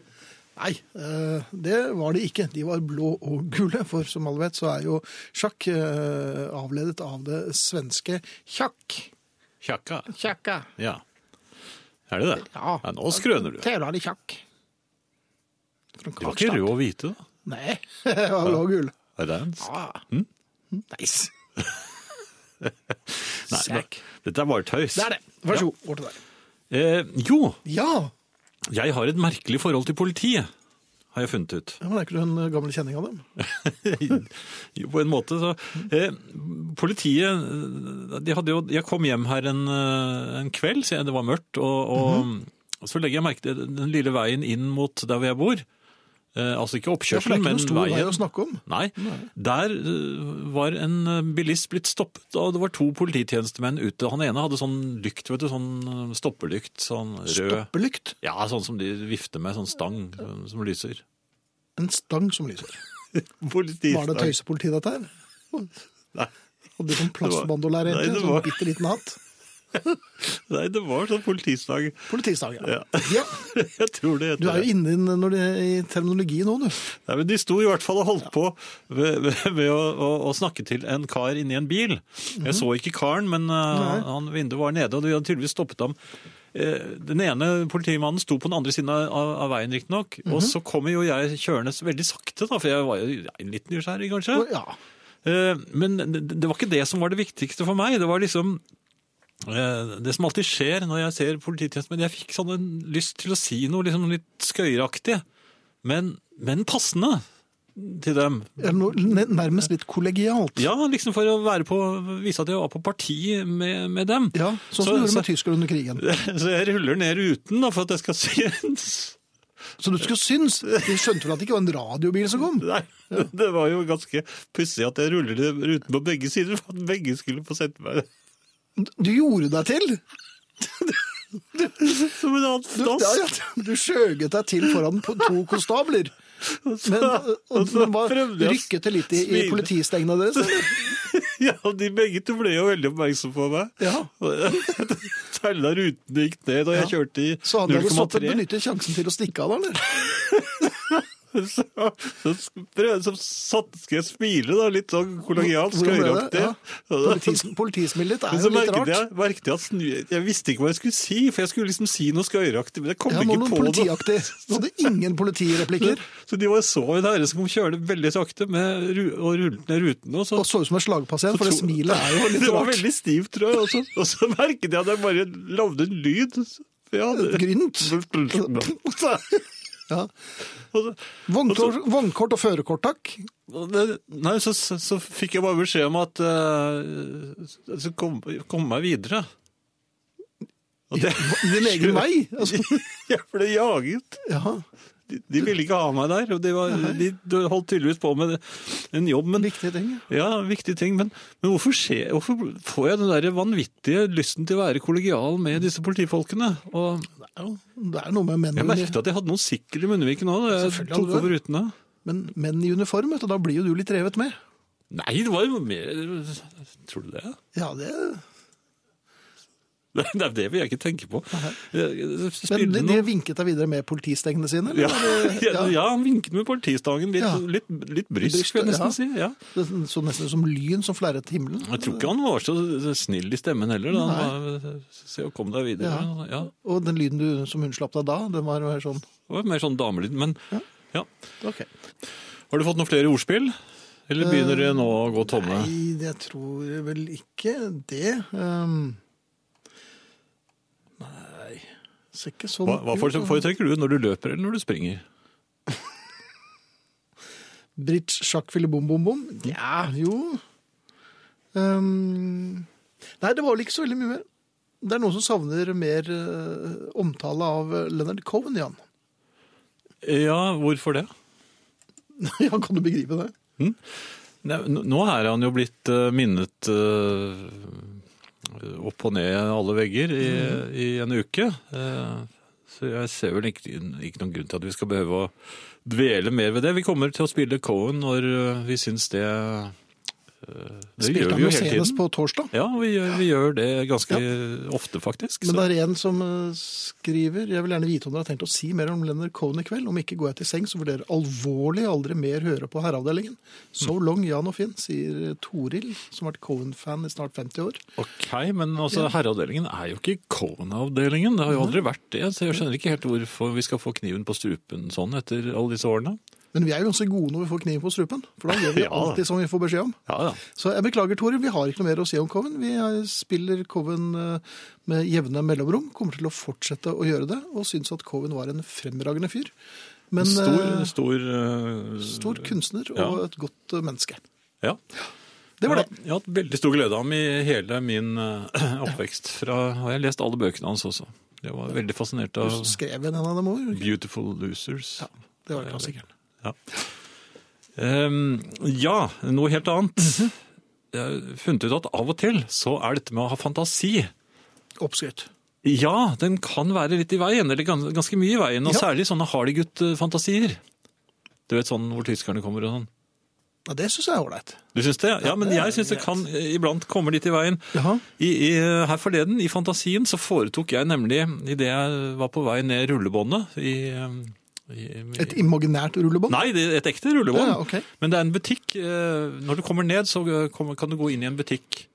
Speaker 1: Nei, eh, det var de ikke. De var blå og gule, for som alle vet så er jo sjakk eh, avledet av det svenske tjakk.
Speaker 2: Tjakka.
Speaker 1: Tjakka.
Speaker 2: Ja. Er det det?
Speaker 1: Ja.
Speaker 2: nå skrøner du.
Speaker 1: Tevler de sjakk?
Speaker 2: Du var ikke rød og hvite, da?
Speaker 1: Nei, det var blå og gul.
Speaker 2: Er det en s-
Speaker 1: Ah. Nice.
Speaker 2: Hm? Nei,
Speaker 1: Sæk.
Speaker 2: det- Dette er bare tøys.
Speaker 1: Det er det. Vær så god. Over til deg.
Speaker 2: Eh, jo,
Speaker 1: Ja!
Speaker 2: jeg har et merkelig forhold til politiet, har jeg funnet ut.
Speaker 1: ja men er ikke du en gammel kjenning av dem?
Speaker 2: Jo, på en måte så eh, Politiet eh, de hadde jo, Jeg kom hjem her en, eh, en kveld, så jeg, det var mørkt, og, og
Speaker 1: Mhm.
Speaker 2: så legger jeg merke til den lille veien inn mot der hvor jeg bor. Eh, altså ikke
Speaker 1: Ja, for det er
Speaker 2: oppkjørselen,
Speaker 1: ikke
Speaker 2: men
Speaker 1: noen stor vei å
Speaker 2: veien.
Speaker 1: snakke om.
Speaker 2: Nei. Der eh, var en eh, bilist blitt stoppet, og det var to polititjenestemenn ute. Han ene hadde sånn lykt, vet du, sånn eh, stopperlykt, sånn rød
Speaker 1: Stoppelykt.
Speaker 2: Ja, sånn som de vifter med, sånn stang eh, som lyser.
Speaker 1: En stang som lyser.
Speaker 2: Politistang.
Speaker 1: Var det tøysepoliti, dette her?
Speaker 2: Nei.
Speaker 1: Hadde du sånn
Speaker 2: Det
Speaker 1: plastbandolære?
Speaker 2: var- nei, det
Speaker 1: egentlig?
Speaker 2: var-
Speaker 1: Sånn bitte liten hatt?
Speaker 2: Nei, det var sånn politistang.
Speaker 1: Politistang, ja.
Speaker 2: Ja.
Speaker 1: ja.
Speaker 2: Jeg tror det heter
Speaker 1: Du er jo
Speaker 2: det.
Speaker 1: inne i den- når det- i terminologi nå, du.
Speaker 2: Nei, men de sto i hvert fall og holdt på ved, ved, ved å, å, å snakke til en kar inni en bil.
Speaker 1: Mhm.
Speaker 2: Jeg så ikke karen, men uh, han, vinduet var nede, og de hadde tydeligvis stoppet ham. Eh, Den ene politimannen sto på den andre siden av, av- av veien, riktignok. Og
Speaker 1: Mhm.
Speaker 2: så kommer jo jeg kjørende veldig sakte, da, for jeg var jo litt nysgjerrig, kanskje.
Speaker 1: Og Ja.
Speaker 2: Eh, Men det det var ikke det som var det viktigste for meg. Det var liksom eh, det som alltid skjer når jeg ser polititjenestemenn. Jeg fikk sånn en lyst til å si noe liksom litt skøyeraktig, men, men passende til dem.
Speaker 1: Eller noe ne- nærmest litt kollegialt.
Speaker 2: Ja, liksom for å være på, vise at jeg var på parti med, med dem.
Speaker 1: Ja, Sånn som du
Speaker 2: Så-
Speaker 1: gjorde med
Speaker 2: så-
Speaker 1: tyskere under krigen.
Speaker 2: Så jeg ruller ned ruten da, for at jeg skal si
Speaker 1: Så du skulle synes. De skjønte vel at det ikke var en radiobil som kom?
Speaker 2: Nei, det var jo ganske pussig at jeg ruller det ruten på begge sider, for at begge skulle få sette meg
Speaker 1: Du gjorde deg til.
Speaker 2: som en annen
Speaker 1: Du,
Speaker 2: dass.
Speaker 1: ja, ja, du skjøget deg til foran på to konstabler. Men,
Speaker 2: og
Speaker 1: og,
Speaker 2: så
Speaker 1: men var,
Speaker 2: prøvde jeg å
Speaker 1: rykket det litt i, i
Speaker 2: smile.
Speaker 1: politistengene deres? eller?
Speaker 2: Ja, de begge to ble jo veldig oppmerksom på meg.
Speaker 1: Ja.
Speaker 2: Tella rutene gikk ned, og jeg
Speaker 1: Ja.
Speaker 2: kjørte i
Speaker 1: Så han hadde satt
Speaker 2: 0,3.
Speaker 1: benyttet sjansen til å stikke av, eller?
Speaker 2: Så, så, prøv- så satt, skal jeg smile, da, litt sånn kollegialt,
Speaker 1: Hvordan ble det?
Speaker 2: skøyeraktig.
Speaker 1: Politis, politismilet ditt
Speaker 2: Men
Speaker 1: er jo
Speaker 2: så
Speaker 1: sånn litt
Speaker 2: merket
Speaker 1: rart.
Speaker 2: jeg, merket jeg at snu, jeg visste ikke hva jeg skulle si, for jeg skulle liksom si noe skøyeraktig, men jeg kom
Speaker 1: Ja, nå
Speaker 2: ikke
Speaker 1: noe
Speaker 2: på noe.
Speaker 1: politiaktig. Du hadde ingen politireplikker,
Speaker 2: Så de var så en herre som kom kjørende veldig sakte med, ru- og rullet ned rutene. Og så,
Speaker 1: og så ut som en slagpasient, for det
Speaker 2: to-
Speaker 1: smilet er jo litt
Speaker 2: det var
Speaker 1: rart.
Speaker 2: veldig stivt, tror jeg. Og så, og så merket jeg at jeg bare lagde en lyd. for jeg hadde-
Speaker 1: Grynt. Ja.
Speaker 2: Og så-
Speaker 1: Vognkort, vognkort og førerkort, takk.
Speaker 2: og det- Nei, så, så, så fikk jeg bare beskjed om at eh, Så kom, kom meg videre. Og det,
Speaker 1: Din egen vei. Altså,
Speaker 2: jeg ble jaget.
Speaker 1: ja.
Speaker 2: De, de ville ikke ha meg der. Og de, var, de de holdt tydeligvis på med en jobb. Men
Speaker 1: Viktige ting. ja.
Speaker 2: Ja, viktige ting, men, men hvorfor, skje, hvorfor får jeg den der vanvittige lysten til å være kollegial med disse politifolkene? Og
Speaker 1: Det er noe med menn,
Speaker 2: jeg merket at jeg hadde noen sikkel i munnviken òg da jeg
Speaker 1: Selvfølgelig
Speaker 2: tok
Speaker 1: hadde du
Speaker 2: over rutene.
Speaker 1: men menn i uniform, vet du, da blir jo du litt revet med.
Speaker 2: Nei, det var jo mer Tror du det?
Speaker 1: Ja, det...
Speaker 2: Nei, det er det vil jeg ikke tenke på.
Speaker 1: Men de,
Speaker 2: Spille
Speaker 1: de
Speaker 2: noe
Speaker 1: vinket deg videre med politistengene sine?
Speaker 2: ja,
Speaker 1: Eller?
Speaker 2: ja, ja, han vinket med politistangen litt,
Speaker 1: Ja.
Speaker 2: litt, litt brysk, vil
Speaker 1: Ja.
Speaker 2: jeg nesten si. Ja.
Speaker 1: Det sånn- så nesten ut som lyn som flerret himmelen.
Speaker 2: Jeg tror ikke han var så snill i stemmen heller. Da. Han var, se og kom deg videre.
Speaker 1: Ja.
Speaker 2: Ja.
Speaker 1: Og den lyden du, som hun slapp deg da, den var jo sånn
Speaker 2: Det var mer sånn damelyd, men ja.
Speaker 1: Ok.
Speaker 2: Har du fått noen flere ordspill? Eller begynner dere nå å gå tomme?
Speaker 1: Nei, jeg tror vel ikke det. Um, nei Ser ikke sånn
Speaker 2: Hva, hva fore- foretrekker du når du løper eller når du springer?
Speaker 1: Britt sjakk fille bom bom bom? Ja, jo. Um, nei, det var vel ikke så veldig mye mer. Det er noen som savner mer eh, omtale av Leonard Cohen, Jan.
Speaker 2: Ja, hvorfor det?
Speaker 1: ja, kan du begripe det?
Speaker 2: Nei, n- Nå er han jo blitt eh, minnet eh, opp og ned alle vegger i,
Speaker 1: Mhm.
Speaker 2: i en uke. Eh, Så jeg ser vel ikke, ikke noen grunn til at vi skal behøve å dvele mer ved det. Vi kommer til å spille Cohen når eh, vi syns det eh, Det
Speaker 1: Spilte
Speaker 2: gjør
Speaker 1: han
Speaker 2: vi
Speaker 1: jo
Speaker 2: jo hele
Speaker 1: senest
Speaker 2: tiden.
Speaker 1: på torsdag.
Speaker 2: Ja, vi gjør, vi gjør det ganske ofte, faktisk.
Speaker 1: Men
Speaker 2: så-
Speaker 1: det er en som eh, skriver Jeg vil gjerne vite om dere har tenkt å si mer om Leonard Cohen i kveld. Om ikke går jeg til sengs og vurderer alvorlig aldri mer høre på herreavdelingen. So
Speaker 2: Mm.
Speaker 1: long, Jan og Finn, sier eh, Toril, som har vært Cohen-fan i snart 50 år.
Speaker 2: Ok, men altså, herreavdelingen er jo ikke Kona-avdelingen. Det har jo aldri vært det. Så jeg skjønner ikke helt hvorfor vi skal få kniven på strupen sånn etter alle disse årene.
Speaker 1: Men vi er jo ganske gode når vi får kniven på strupen. For da gjør vi
Speaker 2: Ja.
Speaker 1: alltid som vi får beskjed om.
Speaker 2: Ja, ja.
Speaker 1: Så jeg beklager, Toril, vi har ikke noe mer å si om Coven. Vi eh, spiller Coven eh, med jevne mellomrom. Kommer til å fortsette å gjøre det, og syns at Coven var en fremragende fyr. Men
Speaker 2: Stor,
Speaker 1: eh,
Speaker 2: stor eh,
Speaker 1: stor kunstner og
Speaker 2: Ja.
Speaker 1: et godt eh, menneske.
Speaker 2: Ja.
Speaker 1: Det var
Speaker 2: Jeg har- Jeg har hatt veldig stor glede av ham i hele min eh, oppvekst. Fra, og jeg har lest alle bøkene hans også. Jeg var veldig fascinert av
Speaker 1: Du skrev en av dem òg?
Speaker 2: Beautiful Losers.
Speaker 1: Ja, det var klassikeren.
Speaker 2: Ehm, ja, noe helt annet.
Speaker 1: Mhm.
Speaker 2: Jeg har funnet ut at av og til så er dette med å ha fantasi
Speaker 1: Oppskrytt.
Speaker 2: Ja, den kan være litt i veien, eller gans- ganske mye i veien. Og
Speaker 1: Ja.
Speaker 2: særlig sånne Hardy-gutt-fantasier. Du vet sånn hvor tyskerne kommer og sånn.
Speaker 1: Ja, det syns jeg er ålreit.
Speaker 2: Du syns det? Ja, men jeg syns det kan eh, iblant komme litt i veien.
Speaker 1: Jaha.
Speaker 2: I, i, eh, her forleden, i fantasien, så foretok jeg nemlig, idet jeg var på vei ned rullebåndet i, eh, i, i
Speaker 1: Et imaginært rullebånd?
Speaker 2: Nei, det er et ekte rullebånd.
Speaker 1: Ja, ok.
Speaker 2: Men det er en butikk. eh, Når du kommer ned, så eh, kommer- kan du gå inn i en butikk.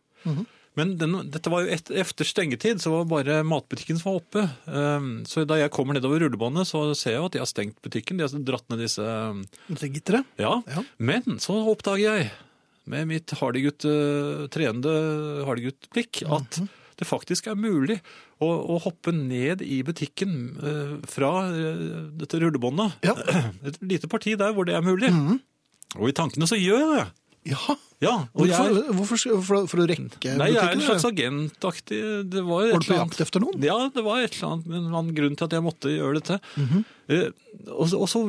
Speaker 2: Men den, dette var jo et, efter stengetid, så var det bare matbutikken som var oppe. Eh, Så da jeg kommer nedover rullebåndet, så ser jeg jo at de har stengt butikken. De har dratt ned disse eh,
Speaker 1: Dette gitteret?
Speaker 2: Ja.
Speaker 1: Ja.
Speaker 2: Men så oppdager jeg, med mitt hardygutt, eh, trenende hardygutt-blikk, at det faktisk er mulig å, å hoppe ned i butikken eh, fra eh, dette rullebåndet
Speaker 1: Ja.
Speaker 2: et lite parti der hvor det er mulig. Og i tankene så gjør jeg det.
Speaker 1: Ja.
Speaker 2: Ja, og jeg...
Speaker 1: hvorfor, hvorfor, for, for å rekke
Speaker 2: Nei, jeg er en
Speaker 1: butikken,
Speaker 2: slags
Speaker 1: eller?
Speaker 2: agentaktig det var, et
Speaker 1: Var du på
Speaker 2: eller annet-
Speaker 1: jakt efter noen?
Speaker 2: Ja, det var et eller annet, en eller annen grunn til at jeg måtte gjøre dette. Eh, og, så- og så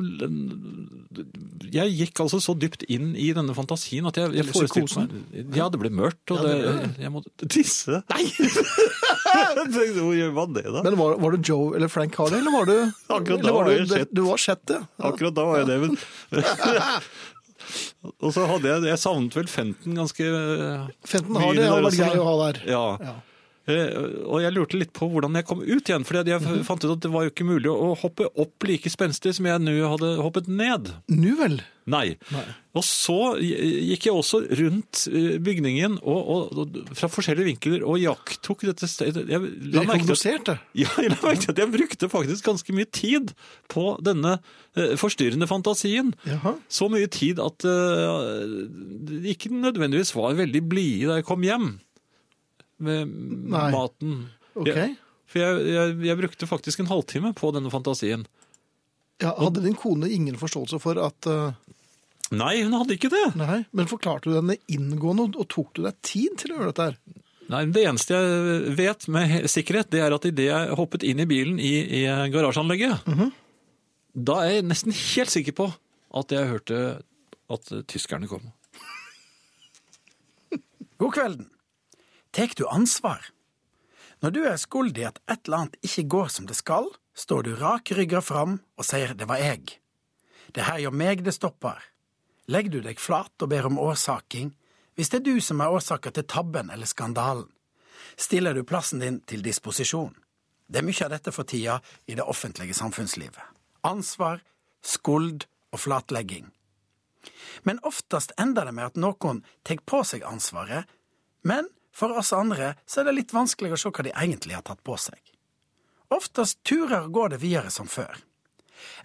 Speaker 2: Jeg gikk altså så dypt inn i denne fantasien at jeg, jeg
Speaker 1: Eller
Speaker 2: forestilte meg Ja, det ble mørkt,
Speaker 1: Ja,
Speaker 2: og det
Speaker 1: det ble
Speaker 2: jeg måtte tisse. Nei! Hvor gjør man det, da?
Speaker 1: Men var, var det Joe eller Frank Hardy, eller var du
Speaker 2: Akkurat da
Speaker 1: eller
Speaker 2: var jeg
Speaker 1: du,
Speaker 2: sjett.
Speaker 1: Du var sjett, ja. ja.
Speaker 2: Akkurat da var jeg det, men Og så hadde jeg Jeg savnet vel Fenton ganske eh,
Speaker 1: Fenton
Speaker 2: mye
Speaker 1: Hardy hadde
Speaker 2: der
Speaker 1: vært
Speaker 2: også.
Speaker 1: grei å ha der.
Speaker 2: Ja.
Speaker 1: Ja.
Speaker 2: Eh, Og jeg lurte litt på hvordan jeg kom ut igjen, for jeg
Speaker 1: Mhm.
Speaker 2: fant ut at det var jo ikke mulig å hoppe opp like spenstig som jeg nå hadde hoppet ned.
Speaker 1: Nu vel.
Speaker 2: Nei. Og så gikk jeg også rundt eh, bygningen og, og, og fra forskjellige vinkler og jakttok dette stedet. Jeg
Speaker 1: Du
Speaker 2: la merke til at-
Speaker 1: rekognoserte.
Speaker 2: ja, jeg la merke til at jeg brukte faktisk ganske mye tid på denne eh, forstyrrende fantasien.
Speaker 1: Jaha.
Speaker 2: Så mye tid at eh, det ikke nødvendigvis var veldig blide da jeg kom hjem med
Speaker 1: Nei.
Speaker 2: maten.
Speaker 1: Ok.
Speaker 2: Jeg, for jeg, jeg, jeg brukte faktisk en halvtime på denne fantasien.
Speaker 1: Ja, hadde din kone ingen forståelse for at eh,
Speaker 2: Nei, hun hadde ikke det!
Speaker 1: Nei, men forklarte du henne inngående, og- og tok du deg tid til å gjøre dette her?
Speaker 2: Nei, Det eneste jeg vet med he- sikkerhet, det er at idet jeg hoppet inn i bilen i, i garasjeanlegget,
Speaker 1: Mhm.
Speaker 2: da er jeg nesten helt sikker på at jeg hørte at tyskerne kom.
Speaker 4: God kvelden. Tek du ansvar? Når du er skuld i at et eller annet ikke går som det skal, står du rakrygga fram og sier det var jeg. Det her gjør meg det stopper. Legger du deg flat og ber om årsaking, hvis det er du som er årsaka til tabben eller skandalen, stiller du plassen din til disposisjon. Det er mye av dette for tida i det offentlige samfunnslivet. Ansvar, skuld og flatlegging men oftest ender det med at noen tar på seg ansvaret, men for oss andre så er det litt vanskelig å se hva de egentlig har tatt på seg. Oftest turer og går det videre som før.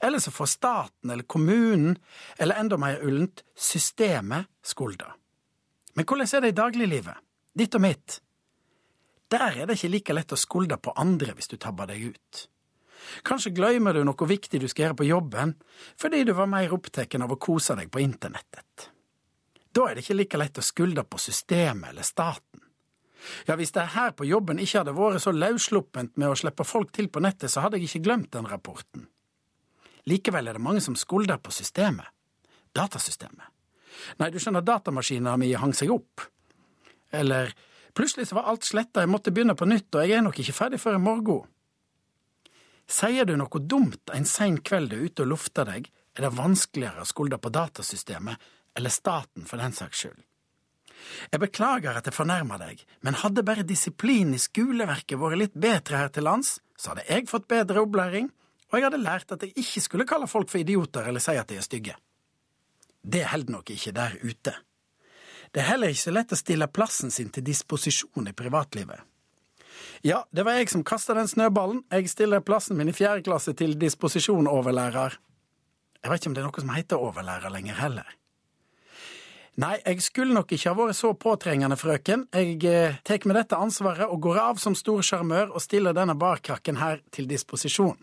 Speaker 4: Eller så får staten eller kommunen, eller enda mer ullent, systemet skulda. Men hvordan er det i dagliglivet? Ditt og mitt? Der er det ikke like lett å skulde på andre hvis du tabber deg ut. Kanskje glemmer du noe viktig du skal gjøre på jobben, fordi du var mer opptatt av å kose deg på internettet. Da er det ikke like lett å skulde på systemet eller staten. Ja, hvis det her på jobben ikke hadde vært så løssluppent med å slippe folk til på nettet, så hadde jeg ikke glemt den rapporten. Likevel er det mange som skulder på systemet. Datasystemet. Nei, du skjønner, datamaskina mi hang seg opp. Eller plutselig så var alt sletta, jeg måtte begynne på nytt, og jeg er nok ikke ferdig før i morgen. Sier du noe dumt en sein kveld du er ute og lufter deg, er det vanskeligere å skulde på datasystemet, eller staten for den saks skyld. Jeg beklager at jeg fornærmer deg, men hadde bare disiplin i skoleverket vært litt bedre her til lands, så hadde jeg fått bedre opplæring, og jeg hadde lært at jeg ikke skulle kalle folk for idioter eller si at de er stygge. Det holder nok ikke der ute. Det er heller ikke så lett å stille plassen sin til disposisjon i privatlivet. Ja, det var jeg som kasta den snøballen. Jeg stiller plassen min i fjerde klasse til disposisjon, overlærer. Jeg vet ikke om det er noe som heter overlærer lenger heller. Nei, jeg skulle nok ikke ha vært så påtrengende, frøken. Jeg eh, tar med dette ansvaret og går av som stor sjarmør og stiller denne barkrakken her til disposisjon.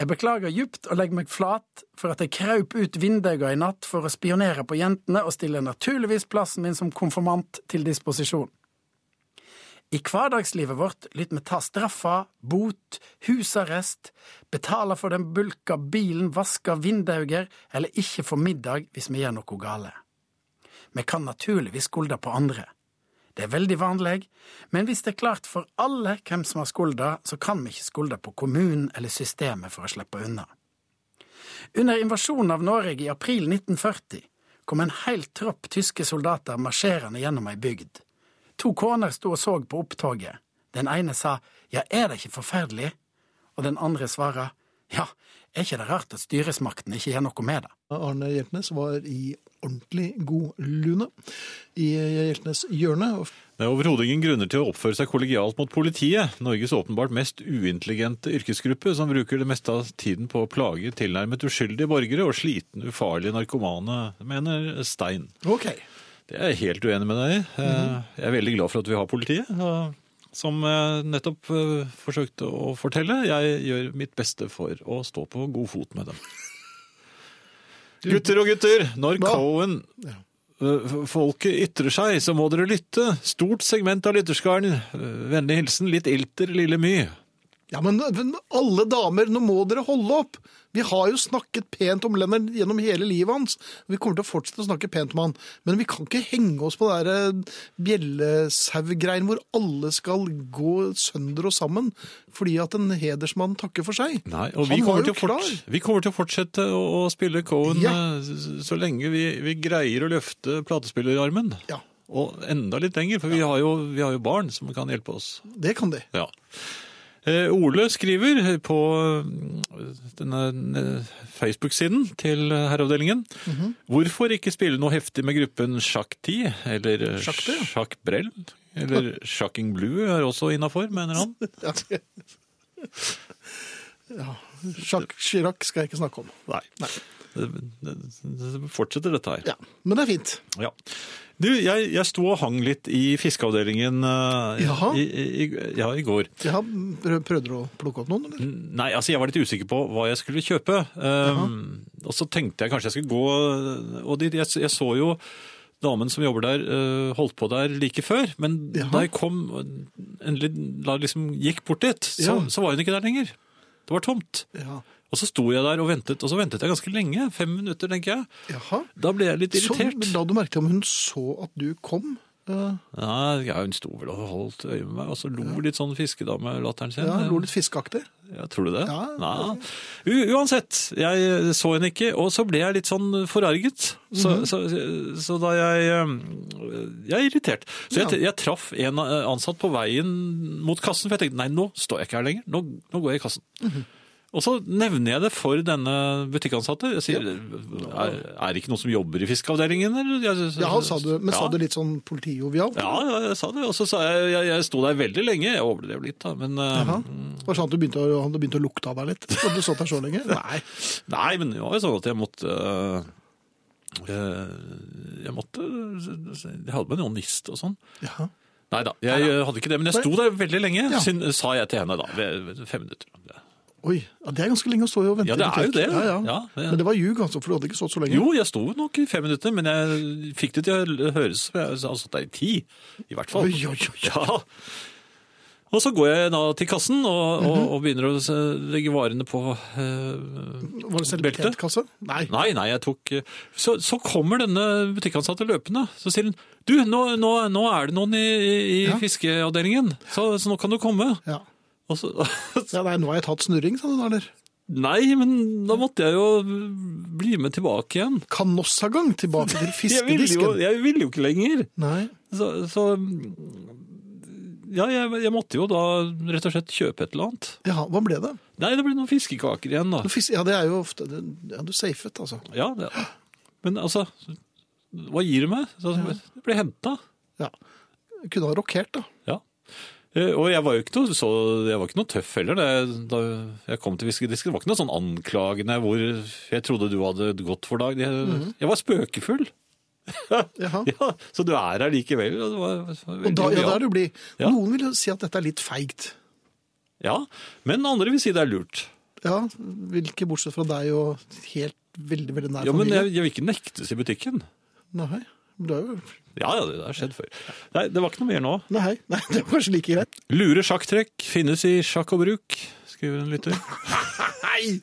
Speaker 4: Jeg beklager djupt og legger meg flat for at jeg kraup ut vinduet i natt for å spionere på jentene, og stiller naturligvis plassen min som konfirmant til disposisjon. I hverdagslivet vårt lytter vi ta straffa, bot, husarrest, betale for den bulka bilen, vaske vinduer eller ikke få middag hvis vi gjør noe gale. Vi kan naturligvis skulde på andre. Det er veldig vanlig, men hvis det er klart for alle hvem som har skulda, så kan vi ikke skulde på kommunen eller systemet for å slippe unna. Under invasjonen av Norge i april 1940 kom en hel tropp tyske soldater marsjerende gjennom ei bygd. To koner sto og så på opptoget. Den ene sa ja, er det ikke forferdelig? Og den andre svarer ja, er ikke det rart at styresmakten ikke gjør noe med det?
Speaker 1: Arne Hjeltnes var i ordentlig god lune i Hjeltnes hjørne. og
Speaker 2: Det er overhodet ingen grunner til å oppføre seg kollegialt mot politiet, Norges åpenbart mest uintelligente yrkesgruppe, som bruker det meste av tiden på å plage tilnærmet uskyldige borgere og slitne, ufarlige narkomane, mener Stein.
Speaker 1: Ok.
Speaker 2: Det er jeg helt uenig med deg i. Eh,
Speaker 1: Mhm.
Speaker 2: Jeg er veldig glad for at vi har politiet, eh, som jeg nettopp eh, forsøkte å fortelle. Jeg gjør mitt beste for å stå på god fot med dem. Gutter og gutter, når
Speaker 1: Hva?
Speaker 2: Cohen Eh, Folket ytrer seg, så må dere lytte. Stort segment av lytterskaren. Eh, Vennlig hilsen litt ilter, lille my.
Speaker 1: Ja, men men alle damer, nå må dere holde opp! Vi har jo snakket pent om Lennart gjennom hele livet hans. Vi kommer til å fortsette å snakke pent om han. Men vi kan ikke henge oss på det der eh, bjellesau-greien hvor alle skal gå sønder og sammen fordi at en hedersmann takker for seg.
Speaker 2: Nei, og vi
Speaker 1: Han var
Speaker 2: kommer,
Speaker 1: jo
Speaker 2: til å forts- vi kommer til å fortsette å, å spille Cohen
Speaker 1: Ja.
Speaker 2: eh, s- så lenge vi, vi greier å løfte platespillerarmen.
Speaker 1: Ja,
Speaker 2: Og enda litt lenger, for vi, har jo, vi har jo barn som kan hjelpe oss.
Speaker 1: det kan de.
Speaker 2: Ja. Eh, Ole skriver på eh, denne eh, Facebook-siden til herreavdelingen
Speaker 1: Mhm.
Speaker 2: Hvorfor ikke spille noe heftig med gruppen Sjakk 10 eller eh,
Speaker 1: Sjakk 10, ja.
Speaker 2: Sjakk Brell? Eller Sjakking Blue er også innafor, mener han.
Speaker 1: Ja. Ja, Jacques Chirac skal jeg ikke snakke om.
Speaker 2: Nei. Det, det, det fortsetter dette her.
Speaker 1: Ja, Men det er fint.
Speaker 2: Ja. Du, jeg, jeg sto og hang litt i fiskeavdelingen eh,
Speaker 1: Jaha.
Speaker 2: i, i, i, ja, i går.
Speaker 1: Ja, prø- Prøvde du å plukke opp noen, eller?
Speaker 2: Nei, altså jeg var litt usikker på hva jeg skulle kjøpe. Um, og så tenkte jeg kanskje jeg skulle gå og dit. Jeg, jeg så jo damen som jobber der, uh, holdt på der like før. Men
Speaker 1: Jaha.
Speaker 2: da jeg kom, endelig da jeg liksom gikk bort dit, så,
Speaker 1: Ja.
Speaker 2: så var hun ikke der lenger. Det var tomt.
Speaker 1: Ja.
Speaker 2: Og så sto jeg der og ventet, og så ventet jeg ganske lenge. Fem minutter, tenker jeg.
Speaker 1: Jaha.
Speaker 2: Da ble jeg litt
Speaker 1: Så
Speaker 2: irritert.
Speaker 1: la du merke til om hun så at du kom? Eh,
Speaker 2: Nei, ja, hun sto vel og holdt øye med meg, og så lo litt sånn fiskedamelatteren sin.
Speaker 1: Ja, lo litt fiskeaktig.
Speaker 2: Ja, tror du det?
Speaker 1: Ja.
Speaker 2: Nei. U uansett, jeg eh, så henne ikke, og så ble jeg litt sånn forarget. Så,
Speaker 1: Mhm.
Speaker 2: så, så da jeg eh, Jeg er irritert. Så jeg, jeg traff en eh, ansatt på veien mot kassen, for jeg tenkte nei, nå står jeg ikke her lenger. Nå, nå går jeg i kassen.
Speaker 1: Mhm.
Speaker 2: Og så nevner jeg det for denne butikkansatte. Jeg sier, er, er det ikke noen som jobber i fiskeavdelingen? Eller? Jeg-
Speaker 1: Ja, sa du, men sa
Speaker 2: Ja.
Speaker 1: du litt sånn politijovialt?
Speaker 2: Ja, ja, jeg sa det. Og så sa jeg, jeg jeg sto der veldig lenge. Jeg overdrev litt, da. Men eh,
Speaker 1: Jaha. Var det sånn at du begynte å, han begynte å lukte av deg litt? Og du satt der så lenge? Nei.
Speaker 2: Nei, men det var jo sånn at jeg måtte øh, øh, Jeg måtte Jeg hadde med en onist og sånn.
Speaker 1: Ja.
Speaker 2: Nei da, jeg øh, hadde ikke det, men jeg sto der veldig lenge,
Speaker 1: Ja.
Speaker 2: syn- sa jeg til henne da. ved- ved Fem minutter.
Speaker 1: Oi, ja, det er ganske lenge å stå og vente.
Speaker 2: Ja, det
Speaker 1: i
Speaker 2: er jo
Speaker 1: butikk.
Speaker 2: det.
Speaker 1: Ja, ja.
Speaker 2: Ja, det er-
Speaker 1: Men det var ljug, altså, for du hadde ikke stått så lenge.
Speaker 2: Jo, jeg sto nok i fem minutter, men jeg fikk det til å høres som jeg hadde stått der i ti, i hvert fall.
Speaker 1: Oi, oi, oi.
Speaker 2: Ja. Og så går jeg da til kassen og, og, og begynner å eh, legge varene på øh,
Speaker 1: Var det selv
Speaker 2: Belte?
Speaker 1: betkasse? Nei.
Speaker 2: Nei, nei, jeg tok Så, så kommer denne butikkansatte løpende. Så sier hun Du, nå, nå, nå er det noen i, i
Speaker 1: Ja.
Speaker 2: fiskeavdelingen, så, så nå kan du komme.
Speaker 1: Ja.
Speaker 2: Og så
Speaker 1: Ja, nei, nå har jeg tatt snurring, sa du da, eller?
Speaker 2: Nei, men da måtte jeg jo bli med tilbake igjen.
Speaker 1: Kanossagang tilbake til
Speaker 2: Jeg ville jo,
Speaker 1: fiskedisken.
Speaker 2: jeg ville jo ikke lenger.
Speaker 1: Nei.
Speaker 2: Så, så Ja, jeg, jeg måtte jo da rett og slett kjøpe et eller annet.
Speaker 1: Ja, hva ble det?
Speaker 2: Nei, det ble noen fiskekaker igjen, da.
Speaker 1: Du fis- Ja, det er jo ofte det- Ja, du safet, altså.
Speaker 2: Ja, det. Men altså Hva gir du meg? Så, det ble henta.
Speaker 1: Ja. Kunne ha rokert, da.
Speaker 2: Ja. Eh, Og jeg var jo ikke noe, så, jeg var ikke noe tøff heller da jeg- da jeg kom til Viskedisken. Det var ikke noe sånn anklagende hvor jeg trodde du hadde gått for dag. Jeg,
Speaker 1: Mhm.
Speaker 2: jeg var spøkefull.
Speaker 1: Jaha.
Speaker 2: Ja, så du er her likevel. Og, det var, det var
Speaker 1: Og da,
Speaker 2: veldig
Speaker 1: ja, da
Speaker 2: bra.
Speaker 1: er du blid.
Speaker 2: Ja.
Speaker 1: Noen vil jo si at dette er litt feigt.
Speaker 2: ja, men andre vil si det er lurt.
Speaker 1: Ja, hvilke bortsett fra deg og helt veldig, veldig nær
Speaker 2: Ja, men
Speaker 1: familie.
Speaker 2: jeg, jeg vil ikke nektes i butikken.
Speaker 1: Nei, du er jo...
Speaker 2: Ja, ja, det har skjedd før. Nei, det var ikke noe mer nå.
Speaker 1: Nei, nei, det var kanskje like greit.
Speaker 2: Lure sjakktrekk finnes i sjakk og bruk, skriver en lytter.
Speaker 1: Nei,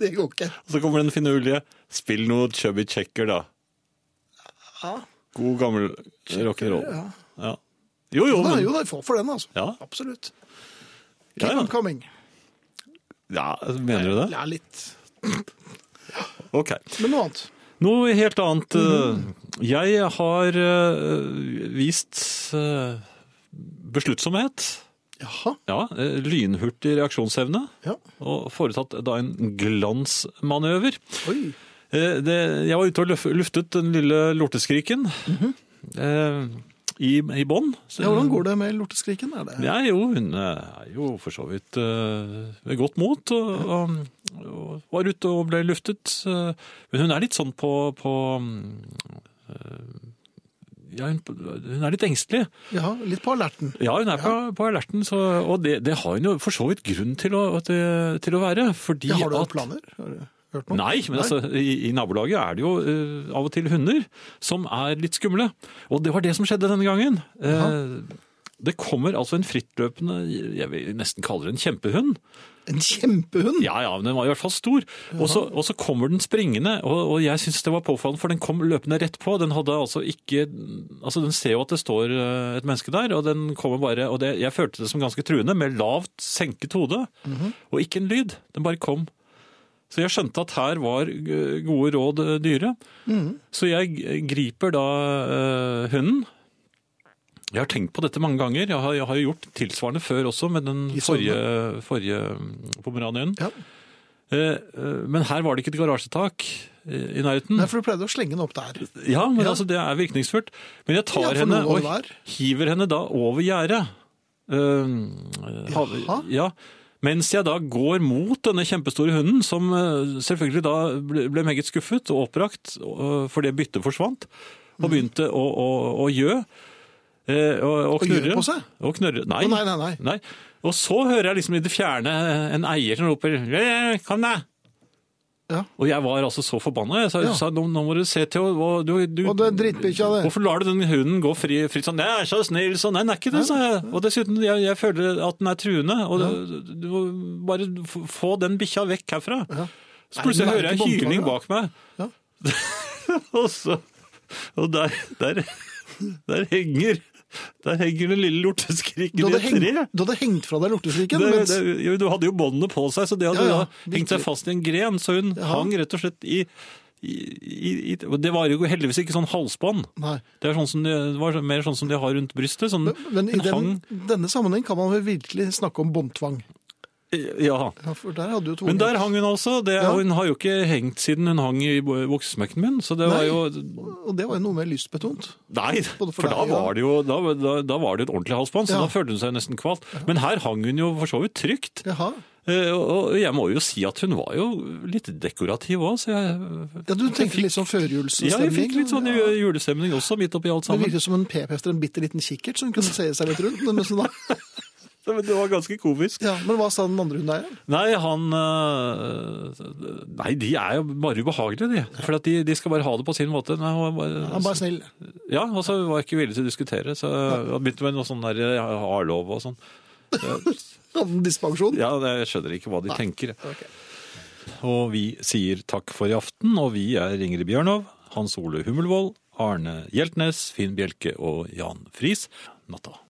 Speaker 1: det går ikke.
Speaker 2: Og så kommer den finurlige. Spill noe chubby checker, da. God gammel rock'n'roll.
Speaker 1: ja.
Speaker 2: Ja. Jo, jo,
Speaker 1: Nei,
Speaker 2: men
Speaker 1: jo, nei, få for den, altså.
Speaker 2: Ja.
Speaker 1: Absolutt. Keep
Speaker 2: Ja, ja.
Speaker 1: on coming.
Speaker 2: ja, Mener du det?
Speaker 1: Ja, litt.
Speaker 2: Ok.
Speaker 1: Men noe annet.
Speaker 2: Noe helt annet. eh,
Speaker 1: Mhm.
Speaker 2: Jeg har eh, vist eh, besluttsomhet.
Speaker 1: Jaha,
Speaker 2: Ja, eh, lynhurtig reaksjonsevne.
Speaker 1: ja.
Speaker 2: Og foretatt da en glansmanøver.
Speaker 1: Oi.
Speaker 2: Eh, det, jeg var ute og løf- luftet den lille lorteskriken eh, i, i bånn.
Speaker 1: Mhm. Ja, hvordan går det med lorteskriken? Er det?
Speaker 2: Ja, jo, hun eh, er jo for så vidt eh, ved godt mot, og, og, og var ute og ble luftet. eh, men hun er litt sånn på, på mm, eh, ja, hun, hun er litt engstelig.
Speaker 1: Jaha, litt på alerten.
Speaker 2: Ja, hun er på, på alerten, så, og det, det har hun jo for så vidt grunn til å, til, til å være. Fordi
Speaker 1: Ja, har du
Speaker 2: at,
Speaker 1: planer? Har du- hørt noe?
Speaker 2: Nei, men altså, i, i nabolaget er det jo eh, av og til hunder som er litt skumle. Og det var det som skjedde denne gangen. Eh, det kommer altså en frittløpende, jeg vil nesten kalle det en kjempehund.
Speaker 1: En kjempehund!
Speaker 2: Ja, ja, men den var i hvert fall stor. Og så, og så kommer den springende, og, og jeg syns det var påfallende, for den kom løpende rett på. Den hadde altså ikke Altså, den ser jo at det står eh, et menneske der, og den kommer bare Og det, jeg følte det som ganske truende, med lavt senket hode, og ikke en lyd. Den bare kom. Så jeg skjønte at her var eh, gode råd eh, dyre. Så jeg eh, griper da eh, hunden. Jeg har tenkt på dette mange ganger. Jeg har, jeg har jo gjort tilsvarende før også, med den
Speaker 1: I samme.
Speaker 2: forrige, forrige mm, pomeranien.
Speaker 1: Ja.
Speaker 2: Eh, eh, Men her var det ikke et garasjetak eh, i nærheten.
Speaker 1: Nei, for du pleide å slenge den opp der.
Speaker 2: Ja, men
Speaker 1: Ja.
Speaker 2: altså det er virkningsfullt. Men jeg
Speaker 1: Ja,
Speaker 2: tar
Speaker 1: for
Speaker 2: henne
Speaker 1: noe
Speaker 2: og
Speaker 1: må det være.
Speaker 2: hiver henne da over gjerdet. Eh, eh, hav-
Speaker 1: Jaha.
Speaker 2: Ja. Mens jeg da går mot denne kjempestore hunden, som eh, selvfølgelig da ble ble meget skuffet og oppbrakt, eh, for det byttet forsvant,
Speaker 1: Mm.
Speaker 2: og begynte å, å, å gjø. eh, Og, og
Speaker 1: Og gjø
Speaker 2: knurre.
Speaker 1: på seg?
Speaker 2: Og knurre. Nei.
Speaker 1: Å, nei, nei, nei.
Speaker 2: Nei. Og så hører jeg liksom i det fjerne en eier som roper «Eh, Kom deg!
Speaker 1: Ja.
Speaker 2: Og jeg var altså så forbanna. Jeg sa,
Speaker 1: Ja.
Speaker 2: sa nå, nå må du se til å hva- du, du,
Speaker 1: Og det er drittbikkja, det.
Speaker 2: Hvorfor lar du den hunden gå fri, fritt sånn? Jeg er så snill, sånn. Nei, den er ikke det, sa jeg. Og dessuten, jeg, jeg føler at den er truende. Og du, du må bare f- få den bikkja vekk herfra. Så
Speaker 1: Nei,
Speaker 2: plutselig
Speaker 1: den er
Speaker 2: hører jeg
Speaker 1: ikke
Speaker 2: hyling
Speaker 1: båndtvanger,
Speaker 2: bak meg.
Speaker 1: Ja.
Speaker 2: og så Og der, der, der henger Der henger den lille
Speaker 1: Du
Speaker 2: lorteskriken i
Speaker 1: hadde,
Speaker 2: et
Speaker 1: hengt,
Speaker 2: tre.
Speaker 1: du hadde hengt fra deg lorteskriken.
Speaker 2: Det,
Speaker 1: mens-
Speaker 2: det, jo, du hadde jo båndene på seg, så det hadde
Speaker 1: Ja, ja,
Speaker 2: da hengt seg
Speaker 1: riktig.
Speaker 2: fast i en gren. Så hun
Speaker 1: Jaha.
Speaker 2: hang rett og slett i, i, i, i og Det var jo heldigvis ikke sånn halsbånd.
Speaker 1: Nei.
Speaker 2: Det, er sånn som de, det var mer sånn som de har rundt brystet. Sånn,
Speaker 1: Men, men i
Speaker 2: en
Speaker 1: den,
Speaker 2: hang,
Speaker 1: denne sammenheng kan man vel virkelig snakke om båndtvang.
Speaker 2: ja.
Speaker 1: Ja, for der hadde jo to
Speaker 2: Men der hang hun altså. Det,
Speaker 1: Ja.
Speaker 2: og Hun har jo ikke hengt siden hun hang i bu- buksesmekken min. Så det var
Speaker 1: Nei.
Speaker 2: jo
Speaker 1: Og det var jo noe mer lystbetont.
Speaker 2: Nei,
Speaker 1: for
Speaker 2: for,
Speaker 1: deg,
Speaker 2: da
Speaker 1: ja.
Speaker 2: var det jo da, da, da var det et ordentlig halsbånd, så
Speaker 1: Ja.
Speaker 2: da følte hun seg nesten kvalt. Men her hang hun jo for så vidt trygt.
Speaker 1: Jaha.
Speaker 2: Eh, Og og jeg må jo si at hun var jo litt dekorativ òg, så jeg
Speaker 1: Ja, du tenker litt sånn førjulsstemning.
Speaker 2: Ja, jeg fikk litt sånn
Speaker 1: Ja.
Speaker 2: ju- julestemning også, midt oppi alt
Speaker 1: Det
Speaker 2: sammen.
Speaker 1: virket som en p-pester, en bitte liten kikkert som kunne se seg litt rundt. Men, sånn, da-
Speaker 2: Men Det var ganske komisk.
Speaker 1: ja, men hva sa den andre hundeeieren?
Speaker 2: Nei, han øh, Nei, de er jo bare ubehagelige, de. For at de, de skal bare ha det på sin måte. Nei, han var bare-
Speaker 1: Han bare snill.
Speaker 2: Ja, og så var jeg ikke villig til å diskutere. Så jeg begynte med noe sånn der ja, A-lov og sånn.
Speaker 1: Hadde den dispensjon?
Speaker 2: Ja, det- jeg skjønner ikke hva de tenker.
Speaker 1: Ok.
Speaker 2: Og vi sier takk for i aften, og vi er Ingrid Bjørnov, Hans Ole Hummelvold, Arne Hjeltnes, Finn Bjelke og Jan Friis. Natta.